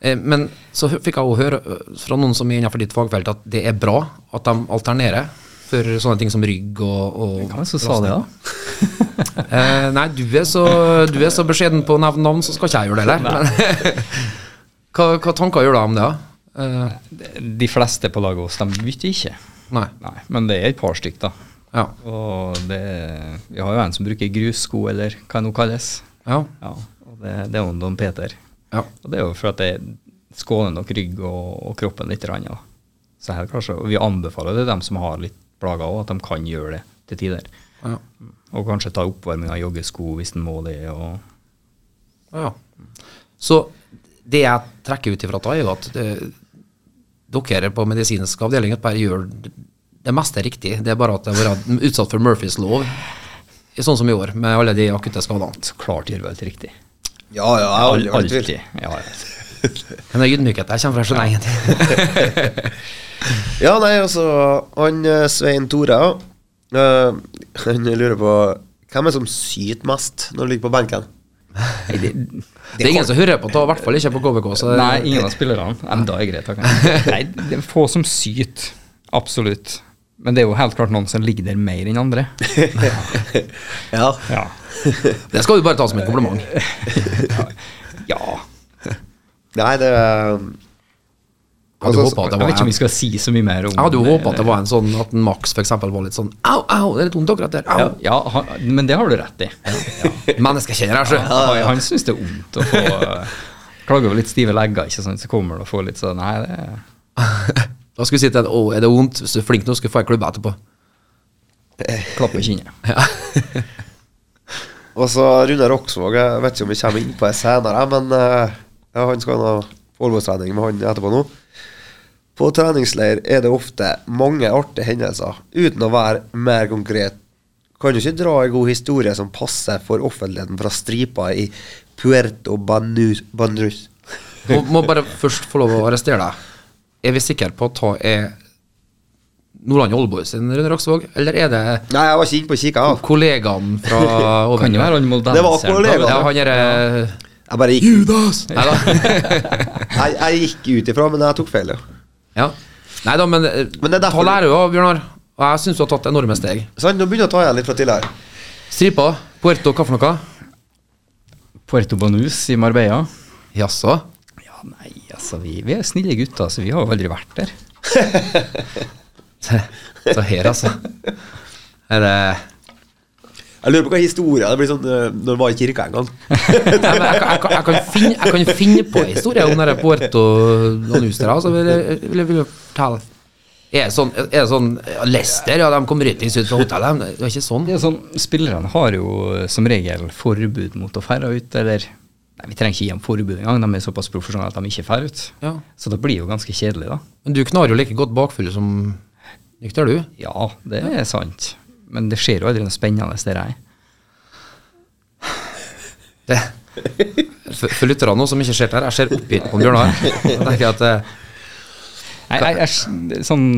[SPEAKER 1] eh, Men så hø- fikk jeg også høre ø, fra noen som er innenfor ditt fagfelt, at det er bra at de alternerer for sånne ting som rygg og, og
[SPEAKER 5] Hvem som sa det, da?
[SPEAKER 1] Eh, nei, du er, så, du er så beskjeden på å nevne navn, så skal ikke jeg gjøre det heller. Men- hva, hva tanker gjør du om det? da? Eh,
[SPEAKER 5] De fleste på laget hos dem bytter ikke.
[SPEAKER 1] nei.
[SPEAKER 5] Nei, Men det er et par stykk, da.
[SPEAKER 1] Ja.
[SPEAKER 5] Og det, vi har jo en som bruker grussko, eller hva det nå kalles.
[SPEAKER 1] Ja.
[SPEAKER 5] Ja, og det, det er jo en Don Peter.
[SPEAKER 1] ja.
[SPEAKER 5] Og det er jo for at det skåner nok rygg og, og kroppen litt. grann, Ja. Så her kanskje, og vi anbefaler det dem som har litt plager òg, at de kan gjøre det til tider.
[SPEAKER 1] Ja.
[SPEAKER 5] Og kanskje ta oppvarming av joggesko hvis en må det. og
[SPEAKER 1] ja. Så det jeg trekker ut ifra da, er jo at det, dere på medisinsk avdeling bare gjør det meste riktig. Det er bare at det har vært utsatt for Murphys lov, sånn som i år, med alle de akutte skadene.
[SPEAKER 5] Så klart gjør vi alt riktig.
[SPEAKER 2] Ja, ja, jeg har aldri vært i tvil.
[SPEAKER 5] Alltid. Ja, ja.
[SPEAKER 1] Men det er ydmykhet. Jeg kommer fra Skjønne ingenting.
[SPEAKER 2] Ja, nei, altså Han eh, Svein Tore eh, Han lurer på Hvem er det som syter mest når du ligger på benken?
[SPEAKER 1] Det er ingen som hører på, da, i hvert fall ikke på KBK. Så det,
[SPEAKER 5] Nei, ingen av spillerne. Men da er det greit. da kan jeg- Nei, det er få som syter. Absolutt. Men det er jo helt klart noen som ligger der mer enn andre.
[SPEAKER 2] Ja.
[SPEAKER 5] Ja.
[SPEAKER 1] det skal du bare ta som et kompliment.
[SPEAKER 5] ja.
[SPEAKER 2] Nei, det er
[SPEAKER 1] Jeg hadde
[SPEAKER 2] Altså,
[SPEAKER 1] håpet at det
[SPEAKER 5] Jeg vet
[SPEAKER 1] var
[SPEAKER 5] ikke om
[SPEAKER 1] en,
[SPEAKER 5] vi skal si så mye mer om
[SPEAKER 1] jeg hadde jo håpet at det var en sånn at en Max f.eks. var litt sånn Au, au, det er litt vondt akkurat der. Au.
[SPEAKER 5] Ja, ja han, men det har du rett i.
[SPEAKER 1] Menneskekjenner her, sjø.
[SPEAKER 5] Han, han syns det er vondt å få Klager over litt stive legger, ikke sant, så kommer han og får litt sånn Nei, det er
[SPEAKER 1] Da skulle vi si til deg, å, er det vondt? Hvis du er flink nå, skal du få ei klubbe etterpå.
[SPEAKER 5] klapp i kinnet.
[SPEAKER 2] Og så Rune Roksvåg Jeg vet ikke om vi kommer inn på det senere, men eh, Ja, han skal ha formålstrening med han etterpå nå. På treningsleir er det ofte mange artige hendelser. Uten å være mer konkret, kan du ikke dra en god historie som passer for offentligheten fra stripa i Puerto Banus, Banus.
[SPEAKER 1] Må, må bare først få lov å arrestere deg. Er vi sikre på at ta er Nordland Oldboy sin Rune Raksvåg, eller er det
[SPEAKER 2] Nei, jeg var ikke inne på kikka. jeg.
[SPEAKER 1] kollegaen fra over?
[SPEAKER 5] Kan jo være han
[SPEAKER 2] Det var
[SPEAKER 5] moldenseren.
[SPEAKER 2] kollega.
[SPEAKER 1] Ja, han er
[SPEAKER 2] Jeg bare gikk
[SPEAKER 1] Judas! Nei da.
[SPEAKER 2] Jeg, jeg gikk ut ifra, men jeg tok feil, ja.
[SPEAKER 1] Ja. Nei da, men, eh,
[SPEAKER 2] Men det er derfor-
[SPEAKER 1] ta lære av Bjørnar. Og jeg syns du har tatt enorme steg.
[SPEAKER 2] Sant, nå begynner jeg å ta igjen litt fra tidligere.
[SPEAKER 1] Stripa, Puerto, hva for noe?
[SPEAKER 5] Puerto Banus i Marbella.
[SPEAKER 1] Jaså?
[SPEAKER 5] Ja, nei, altså, vi, vi er snille gutter, så vi har jo aldri vært der.
[SPEAKER 1] Så her, altså. Er det
[SPEAKER 2] Jeg lurer på hva historien er. Det blir sånn eh, når man var i kirka en gang.
[SPEAKER 1] Nei, men jeg, kan- jeg, kan- jeg, kan finne, jeg kan finne på en historie om denne Puerto Anustra. Altså, vil, jeg- vil, jeg- vil jeg fortelle er det sånn, er det sånn ja, Leicester, ja, de kom rytings ut fra hotellet. men Det var ikke sånn.
[SPEAKER 5] Det er sånn, Spillerne har jo eh, som regel forbud mot å ferde ut, eller Nei, vi trenger ikke gi dem forbud engang, de er såpass profesjonelle at de ikke fer ut.
[SPEAKER 1] Ja.
[SPEAKER 5] Så det blir jo ganske kjedelig, da.
[SPEAKER 1] Men du knar jo like godt bakfull som nykter, du.
[SPEAKER 5] Ja, det er sant. Men det skjer jo aldri noe spennende der jeg er.
[SPEAKER 1] Det. For, for lytterne nå som ikke ser det her, jeg ser oppgitt på Bjørnar. Jeg tenker at eh,
[SPEAKER 5] Nei, jeg, jeg, s- sånn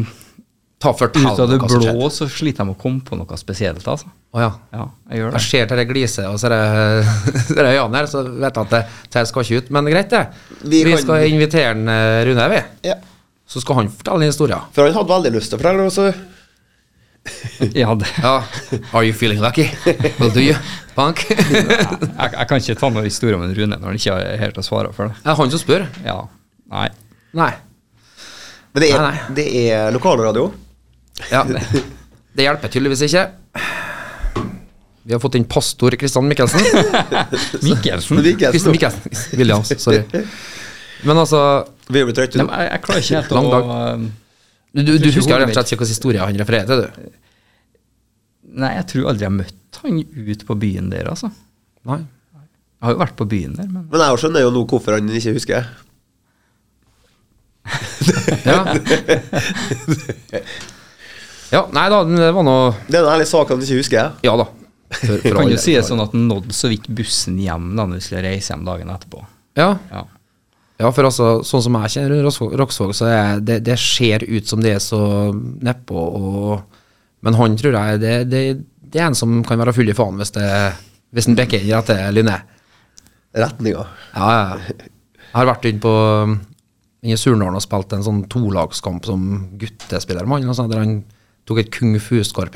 [SPEAKER 1] Ta fortell
[SPEAKER 5] ut av det
[SPEAKER 1] hva som skjer.
[SPEAKER 5] blå så sliter jeg med å komme på noe spesielt, altså.
[SPEAKER 1] Å ja.
[SPEAKER 5] Ja, jeg gjør
[SPEAKER 1] Jeg
[SPEAKER 5] det.
[SPEAKER 1] ser dette gliset og så disse øynene her, så vet jeg at det, det her skal ikke ut. Men greit, det. Vi,
[SPEAKER 2] Vi kan-
[SPEAKER 1] skal invitere en, eh, Rune, vi.
[SPEAKER 2] Ja.
[SPEAKER 1] Så skal han fortelle en historie.
[SPEAKER 2] For han hadde veldig lyst til å fortelle, og så
[SPEAKER 5] Ja, det.
[SPEAKER 1] Ja. Are you feeling lucky? Will do you? Bank. Det
[SPEAKER 5] Jeg, jeg kan ikke ta noen historie om en Rune når han ikke er helt å svare for det.
[SPEAKER 1] er han som spør.
[SPEAKER 5] Ja, nei.
[SPEAKER 1] Nei.
[SPEAKER 2] Men det er,
[SPEAKER 1] Nei, nei.
[SPEAKER 2] det er lokalradio.
[SPEAKER 1] Ja. Det hjelper tydeligvis ikke. Vi har fått inn pastor Kristian Mikkelsen.
[SPEAKER 5] Mikkelsen?
[SPEAKER 2] Men
[SPEAKER 5] Nei,
[SPEAKER 2] det gikk jeg
[SPEAKER 1] Kristian
[SPEAKER 2] sånn.
[SPEAKER 1] Mikkelsen. Williams, sorry. Men altså
[SPEAKER 2] Vi er blitt trøtte
[SPEAKER 5] men
[SPEAKER 2] nå.
[SPEAKER 5] jeg, jeg klarer ikke helt
[SPEAKER 1] Lang
[SPEAKER 5] å eh,
[SPEAKER 1] Du, du, du
[SPEAKER 5] Ikke
[SPEAKER 1] husker
[SPEAKER 5] hodet
[SPEAKER 1] rett og slett ikke hvilken historie han refererer til, du?
[SPEAKER 5] Nei, jeg tror aldri jeg møtte han ut på byen der, altså.
[SPEAKER 1] Nei.
[SPEAKER 5] Jeg har jo vært på byen der, men
[SPEAKER 2] Men jeg skjønner jo nå hvorfor han ikke husker.
[SPEAKER 1] Ja. ja, nei da, det var nå
[SPEAKER 2] Det er en ærlig sak han ikke husker.
[SPEAKER 1] Ja da. For,
[SPEAKER 5] det
[SPEAKER 1] for
[SPEAKER 5] kan
[SPEAKER 1] all
[SPEAKER 5] jo
[SPEAKER 1] del.
[SPEAKER 5] sies sånn at han nådde så vidt bussen hjem da når vi skulle reise hjem dagen etterpå.
[SPEAKER 1] Ja.
[SPEAKER 5] Ja.
[SPEAKER 1] ja, for altså, sånn som jeg kjenner Roksvåg- Roksvåg, så er det, det ser ut som det er så nedpå og Men han tror jeg det, det, det er en som kan være full i faen hvis det Hvis han bikker i rette linje.
[SPEAKER 2] Retninga.
[SPEAKER 1] Ja, ja. Jeg har vært inne på um, inne i Surnadalen og spilt en sånn tolagskamp som guttespiller med han. og sånn, Der han tok et kung fu-spark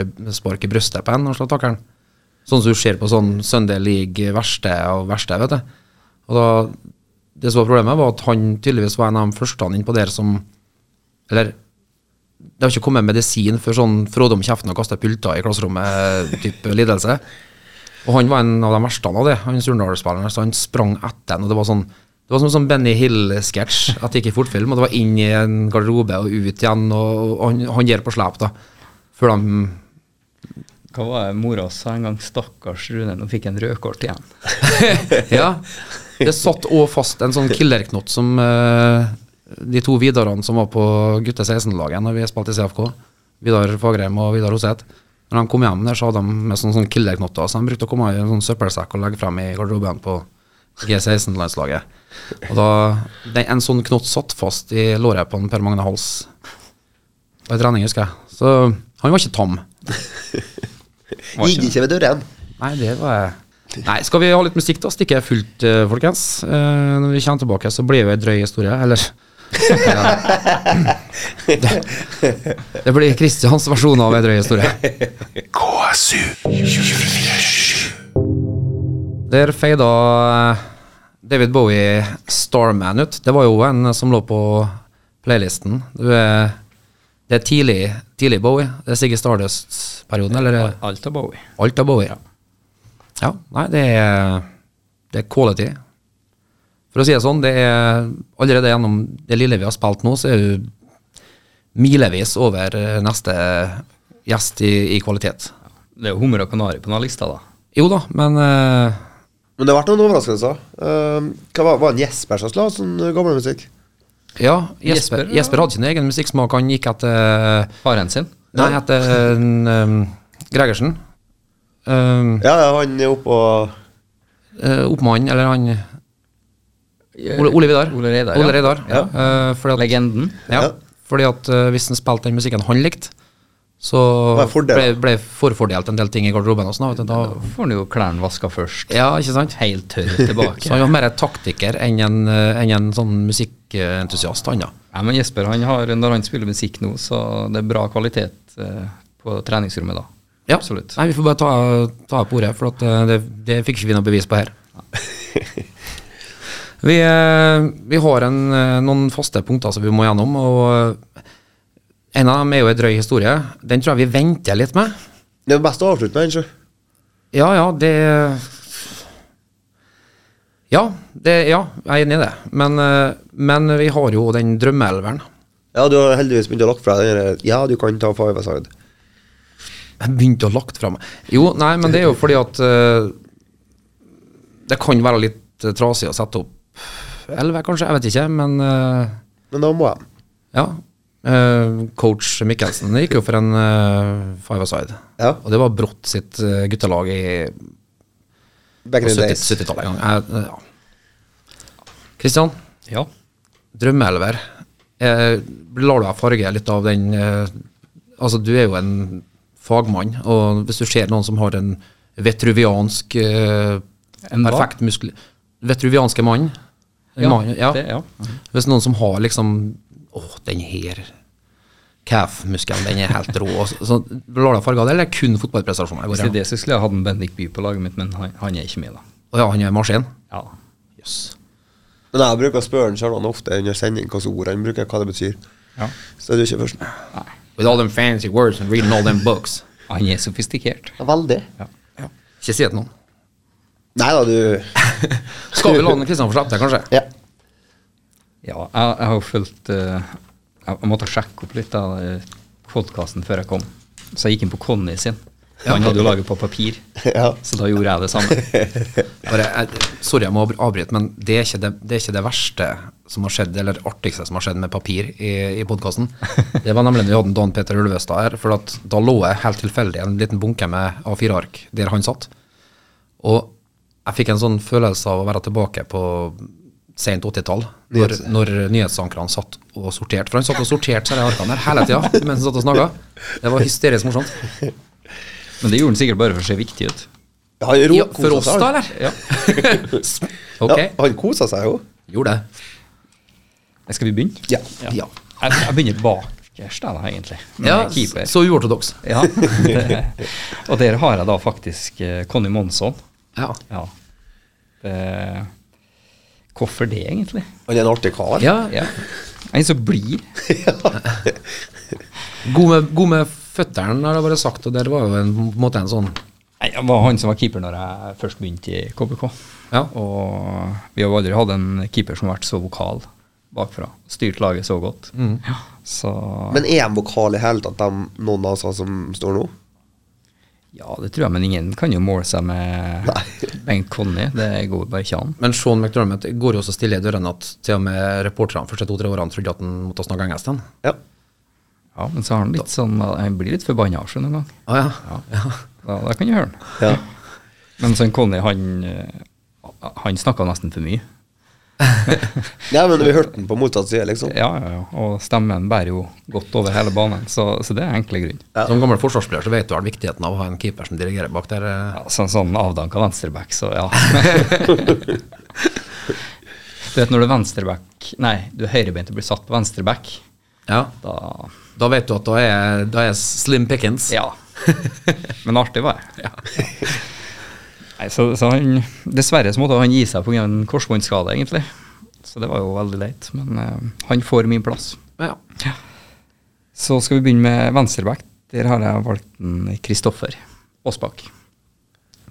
[SPEAKER 1] i brystet på en og slapp takeren. Sånn som du ser på sånn Sunday League verste og verste, vet du. Og da, det som var problemet, var at han tydeligvis var en av de første inn på der som Eller det har ikke kommet medisin før sånn Frode om kjeften og kaste pulter i klasserommet-type lidelse. Og han var en av de verste av det, han Surnadal-spilleren. Så han sprang etter en, og det var sånn det var som en sånn Benny Hill-sketsj, at det gikk i fortfilm. Og det var inn i en garderobe og ut igjen, og, og han, han gir på slep, da. Før de
[SPEAKER 5] Hva var det mora sa en gang? Stakkars Rune, nå fikk jeg en rødkort igjen.
[SPEAKER 1] Ja. Det satt òg fast en sånn killerknott som eh, de to Vidarene som var på gutte 16-laget når vi spilte i CFK, Vidar Fagerheim og Vidar Hoseth. Når de kom hjem der, så hadde de med sånne, sånne killerknotter. Så de brukte å komme i en sånn søppelsekk og legge frem i garderoben på G16-landslaget. Og da, den, En sånn knott satt fast i låret på en Per Magne Hals på en trening, husker jeg. Så han var ikke tam.
[SPEAKER 2] Gikk ikke ved døren.
[SPEAKER 1] Nei, det var jeg. Nei, skal vi ha litt musikk, da? Stikker jeg fullt, eh, folkens. Eh, når vi kommer tilbake, så blir det jo ei drøy historie, eller det, det blir Kristians versjon av ei drøy historie.
[SPEAKER 4] KSU 247.
[SPEAKER 1] Der feida eh, David Bowie Starman ut. Det var jo en som lå på playlisten. Det er, det er tidlig, tidlig Bowie. Det er Siggy Stardust-perioden, eller? eh,
[SPEAKER 5] Alt av Bowie.
[SPEAKER 1] Alt er Bowie. Ja, nei, det er, det er quality. For å si det sånn, det er allerede gjennom det lille vi har spilt nå, så er du milevis over eh, neste gjest i, i kvalitet.
[SPEAKER 5] Det er jo hummer og kanari på denne lista, da.
[SPEAKER 1] Jo da, men eh,
[SPEAKER 2] Men det har vært noen overraskelser. Eh, hva var, var det Jesper som la sånn gammel musikk?
[SPEAKER 1] Ja, Jesper,
[SPEAKER 5] Jesper,
[SPEAKER 1] Jesper, hadde sin egen musikksmak. Han gikk etter
[SPEAKER 5] Faren sin.
[SPEAKER 1] Nei, etter en, um, Gregersen. Um,
[SPEAKER 2] Ja, ja, han er oppe og
[SPEAKER 1] eh, Oppmannen, eller han Ole, Ole Vidar.
[SPEAKER 5] Ole Reidar, ja.
[SPEAKER 1] Ole Reidar. Eh, fordi at,
[SPEAKER 5] Legenden.
[SPEAKER 1] Ja,
[SPEAKER 2] Ja.
[SPEAKER 1] fordi at eh, hvis han spilte den musikken han likte, så
[SPEAKER 2] Hva er fordelen?
[SPEAKER 1] ble, ble forfordelt en del ting i garderoben og sånn. da, vet du,
[SPEAKER 5] Da får han jo klærne vaska først.
[SPEAKER 1] Da, ja, ikke sant?
[SPEAKER 5] Helt tørr tilbake.
[SPEAKER 1] Så han var mer en taktiker enn en, eh, enn en sånn musikkentusiast, han da.
[SPEAKER 5] Nei, men Jesper, han har, når han spiller musikk nå, så det er bra kvalitet eh, på treningsrommet da.
[SPEAKER 1] Ja.
[SPEAKER 5] Absolutt.
[SPEAKER 1] Nei, vi får bare ta, ta på ordet, for at eh, det, det fikk ikke vi noe bevis på her. vi, eh, vi har en, eh, noen faste punkter som vi må gjennom, og eh, en av dem er jo en drøy historie. Den tror jeg vi venter litt med.
[SPEAKER 2] Det er best å avslutte med, egentlig.
[SPEAKER 1] Ja, ja, det Ja, det, ja jeg er enig i det. Men, eh, men vi har jo den drømmeelveren.
[SPEAKER 2] Ja, du har heldigvis begynt å lokke fra deg den der, Ja, du kan ta Five Aside.
[SPEAKER 1] Jeg begynte å lagt fra meg. Jo, nei, men det er jo fordi at eh, det kan være litt eh, trasig å sette opp elleve, kanskje. Jeg vet ikke, men eh,
[SPEAKER 2] Men da må jeg.
[SPEAKER 1] ja. Eh, coach Mikkelsen gikk jo for en uh, five-a-side.
[SPEAKER 2] Ja.
[SPEAKER 1] Og det var Brått sitt eh, guttelag i
[SPEAKER 2] Back in the days.
[SPEAKER 1] 70-tallet en gang. Jeg- ja. Kristian,
[SPEAKER 5] Ja.
[SPEAKER 1] drømmeelver. Eh, lar du deg farge litt av den eh, Altså, du er jo en fagmann, og hvis du ser noen som har en vetruviansk eh,
[SPEAKER 5] En hva?
[SPEAKER 1] perfekt muskel... Vetruvianske mann. En
[SPEAKER 5] Ja,
[SPEAKER 1] mann, ja.
[SPEAKER 5] det- ja.
[SPEAKER 1] Hvis noen som har liksom Å, den her calf-muskelen, den er helt rå. Så, så lar du deg farge av det, eller er det kun fotballprestasjoner? jeg går
[SPEAKER 5] Hvis det er
[SPEAKER 1] igjennom?
[SPEAKER 5] det, så skulle jeg hatt en Bendik By på laget mitt, men han, han er ikke med, da.
[SPEAKER 1] Å ja, han er maskin?
[SPEAKER 5] Ja.
[SPEAKER 1] Jøss.
[SPEAKER 2] Men jeg bruker å spørre han Charlotte ofte under sending hvilke ord han bruker, hva det betyr.
[SPEAKER 5] Ja.
[SPEAKER 2] Så er du ikke først.
[SPEAKER 1] With all them fancy words and reading all them books.
[SPEAKER 5] Han er sofistikert.
[SPEAKER 2] Veldig.
[SPEAKER 1] Ikke si det til noen.
[SPEAKER 2] Nei da, du
[SPEAKER 1] Skal vi la den Kristian få slippe det, kanskje?
[SPEAKER 2] Ja.
[SPEAKER 5] Ja, jeg, jeg har jo fulgt eh, Jeg jeg måtte sjekke opp litt av podkasten før jeg kom. Så jeg gikk inn på Conny sin. Han hadde jo laget på papir,
[SPEAKER 2] ja.
[SPEAKER 5] så da gjorde jeg det samme.
[SPEAKER 1] Bare, jeg, sorry, jeg må avbry- avbryte, men det er, ikke det, det er ikke det verste som har skjedd, eller artigste som har skjedd med papir i, i podkasten. Det var nemlig da vi hadde Dan Peter Ulvestad her, for at da lå jeg helt tilfeldig i en liten bunke med A4-ark der han satt. Og jeg fikk en sånn følelse av å være tilbake på sent 80-tall, når, når nyhetsankerne satt og sorterte. For han satt og sorterte disse arkene der hele tida mens han satt og snakka. Det var hysterisk morsomt.
[SPEAKER 5] Men det gjorde han sikkert bare for å se viktig ut.
[SPEAKER 2] Han ro-
[SPEAKER 1] Ja,
[SPEAKER 2] koset
[SPEAKER 1] for oss,
[SPEAKER 2] seg,
[SPEAKER 1] da,
[SPEAKER 2] han.
[SPEAKER 1] eller? Ok.
[SPEAKER 2] Ja, han kosa seg jo.
[SPEAKER 1] Gjorde det.
[SPEAKER 5] Skal vi begynne?
[SPEAKER 2] Ja.
[SPEAKER 1] Ja.
[SPEAKER 5] Jeg, jeg begynner bakerst, jeg, da, egentlig. Med
[SPEAKER 1] Ja,
[SPEAKER 5] keeper.
[SPEAKER 1] så uortodoks.
[SPEAKER 5] Ja. Det, og der har jeg da faktisk eh, Conny Monsson.
[SPEAKER 1] Ja.
[SPEAKER 5] Ja. Eh, hvorfor det, egentlig?
[SPEAKER 2] Han er en artig kar.
[SPEAKER 1] ja.
[SPEAKER 5] Ja. En som blir.
[SPEAKER 1] God med, god med føtteren, har jeg bare sagt, og der var jo en, på en måte en sånn
[SPEAKER 5] Nei, Det var han som var keeper når jeg først begynte i KBK.
[SPEAKER 1] Ja.
[SPEAKER 5] Og vi har jo aldri hatt en keeper som har vært så vokal bakfra. Styrt laget så godt. Ja, så
[SPEAKER 2] Men er han vokal i hele tatt, de, noen av oss som står nå?
[SPEAKER 5] ja, det tror jeg, men ingen kan jo måle seg med Bengt Conny. Det går bare ikke an.
[SPEAKER 1] Men Sean McDermott går jo så stille i dørene at til og med reporterne første to-tre årene trodde at han måtte snakke engelsk. Han.
[SPEAKER 2] Ja.
[SPEAKER 5] Ja, Men så har han litt sånn Han blir litt forbanna av seg noen gang.
[SPEAKER 1] Ah, ja.
[SPEAKER 5] Ja. Da, da kan du høre den.
[SPEAKER 2] ja.
[SPEAKER 5] Men sånn Conny, han, eh, han snakka nesten for mye.
[SPEAKER 2] Nei, men vi hørte den på motsatt side, liksom.
[SPEAKER 5] Ja, ja, ja. Og stemmen bærer jo godt over hele banen, så, så det er enkle grunn.
[SPEAKER 1] Som gammel forsvarsspiller så vet du vel viktigheten av å ha en keeper som dirigerer bak der. eh.
[SPEAKER 5] Ja, sånn, sånn avdanka venstreback, så ja. du vet når du er venstreback Nei, du er høyrebeint og blir satt på venstreback,
[SPEAKER 1] Ja.
[SPEAKER 5] da
[SPEAKER 1] Da vet du at da er, da er Slim Pickens.
[SPEAKER 5] Ja. Men artig var det. Nei, så, så han Dessverre så måtte han gi seg pga. en korsbåndskade, egentlig. Så det var jo veldig leit. Men eh, han får min plass.
[SPEAKER 1] Ja.
[SPEAKER 5] Så skal vi begynne med venstreback. Der har jeg valgt en Kristoffer Aasbak.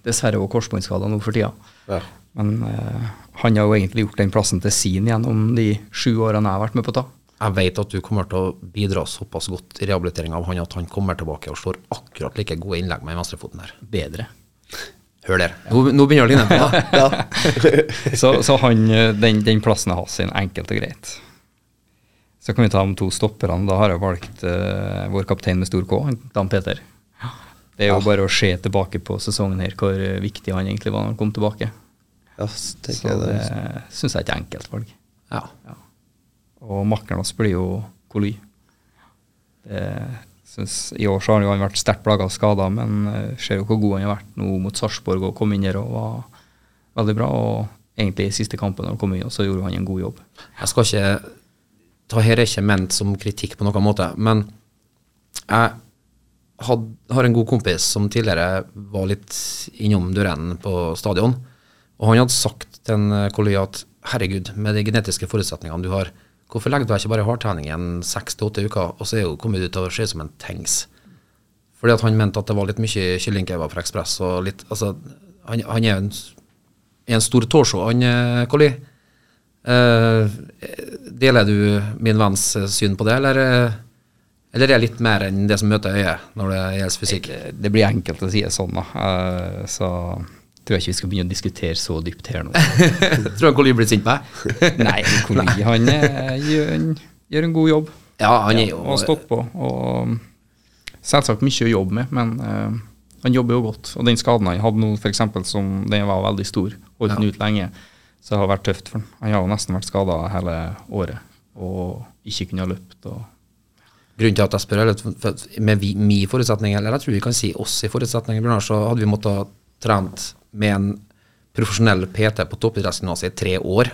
[SPEAKER 5] Dessverre også korsbåndskada nå for tida.
[SPEAKER 2] Ja.
[SPEAKER 5] Men eh, han har jo egentlig gjort den plassen til sin gjennom de sju årene jeg har vært med på å ta.
[SPEAKER 1] Jeg vet at du kommer til å bidra såpass godt i rehabiliteringa av han at han kommer tilbake og slår akkurat like gode innlegg med venstrefoten her.
[SPEAKER 5] Bedre.
[SPEAKER 1] Hør der. Nå, nå begynner det å ligne på noe.
[SPEAKER 2] Ja.
[SPEAKER 5] Så, så han, eh, den, den plassen er hans sin, enkelt og greit. Så kan vi ta de to stopperne. Da har jeg valgt eh, vår kaptein med stor K, Dan Peter. Det er jo bare å se tilbake på sesongen her, hvor eh, viktig han egentlig var når han kom tilbake.
[SPEAKER 2] ja, så tenker
[SPEAKER 5] Så
[SPEAKER 2] jeg
[SPEAKER 5] det
[SPEAKER 2] det.
[SPEAKER 5] syns jeg er et enkelt valg.
[SPEAKER 1] Ja.
[SPEAKER 5] Og makkeren hans blir jo Koly. Det synes- I år så har han jo han vært sterkt plaga av skader, men eh, ser jo hvor god han har vært nå mot Sarpsborg og kom inn her og var veldig bra. Og egentlig i siste kampen når han kom inn, så gjorde han en god jobb.
[SPEAKER 1] Jeg skal ikke Ta her er ikke ment som kritikk på noen måte, men jeg had, har en god kompis som tidligere var litt innom dørene på stadion, og han hadde sagt til en eh, kollega at herregud, med de genetiske forutsetningene du har, hvorfor legger du deg ikke bare i hardtrening i en seks til åtte uker, og så er jo kommet ut og ser ut som en tanks? Fordi at han mente at det var litt mye kyllingkebab fra Ekspress og litt Altså, han, han er jo en, s- er en stor torso, han eh, Colli. Eh, deler du min venns eh, syn på det, eller, eh, eller er det litt mer enn det som møter øyet når det gjelder fysikk?
[SPEAKER 5] Det, det blir enkelt å si det sånn, da. Eh, Så tror jeg ikke vi skal begynne å diskutere så dypt her nå.
[SPEAKER 1] Tror han Colli blir sint på meg?
[SPEAKER 5] Nei, Koly han eh, gjør, en- gjør en god jobb.
[SPEAKER 1] Ja, han er
[SPEAKER 5] Ja,
[SPEAKER 1] jo
[SPEAKER 5] og stått på. Og um, selvsagt mye å jobbe med, men eh, han jobber jo godt. Og den skaden han hadde nå, f.eks., som den var veldig stor, holdt den ut lenge, så det har vært tøft for han. Han har jo nesten vært skada hele året og ikke kunne ha løpt. Og
[SPEAKER 1] Grunnen til at jeg spør, er litt for- for- med vi, min forutsetning, eller jeg tror vi kan si oss i forutsetning, Bjørnar, så hadde vi måttet ha trent med en profesjonell PT på toppidrettsgymnaset i tre år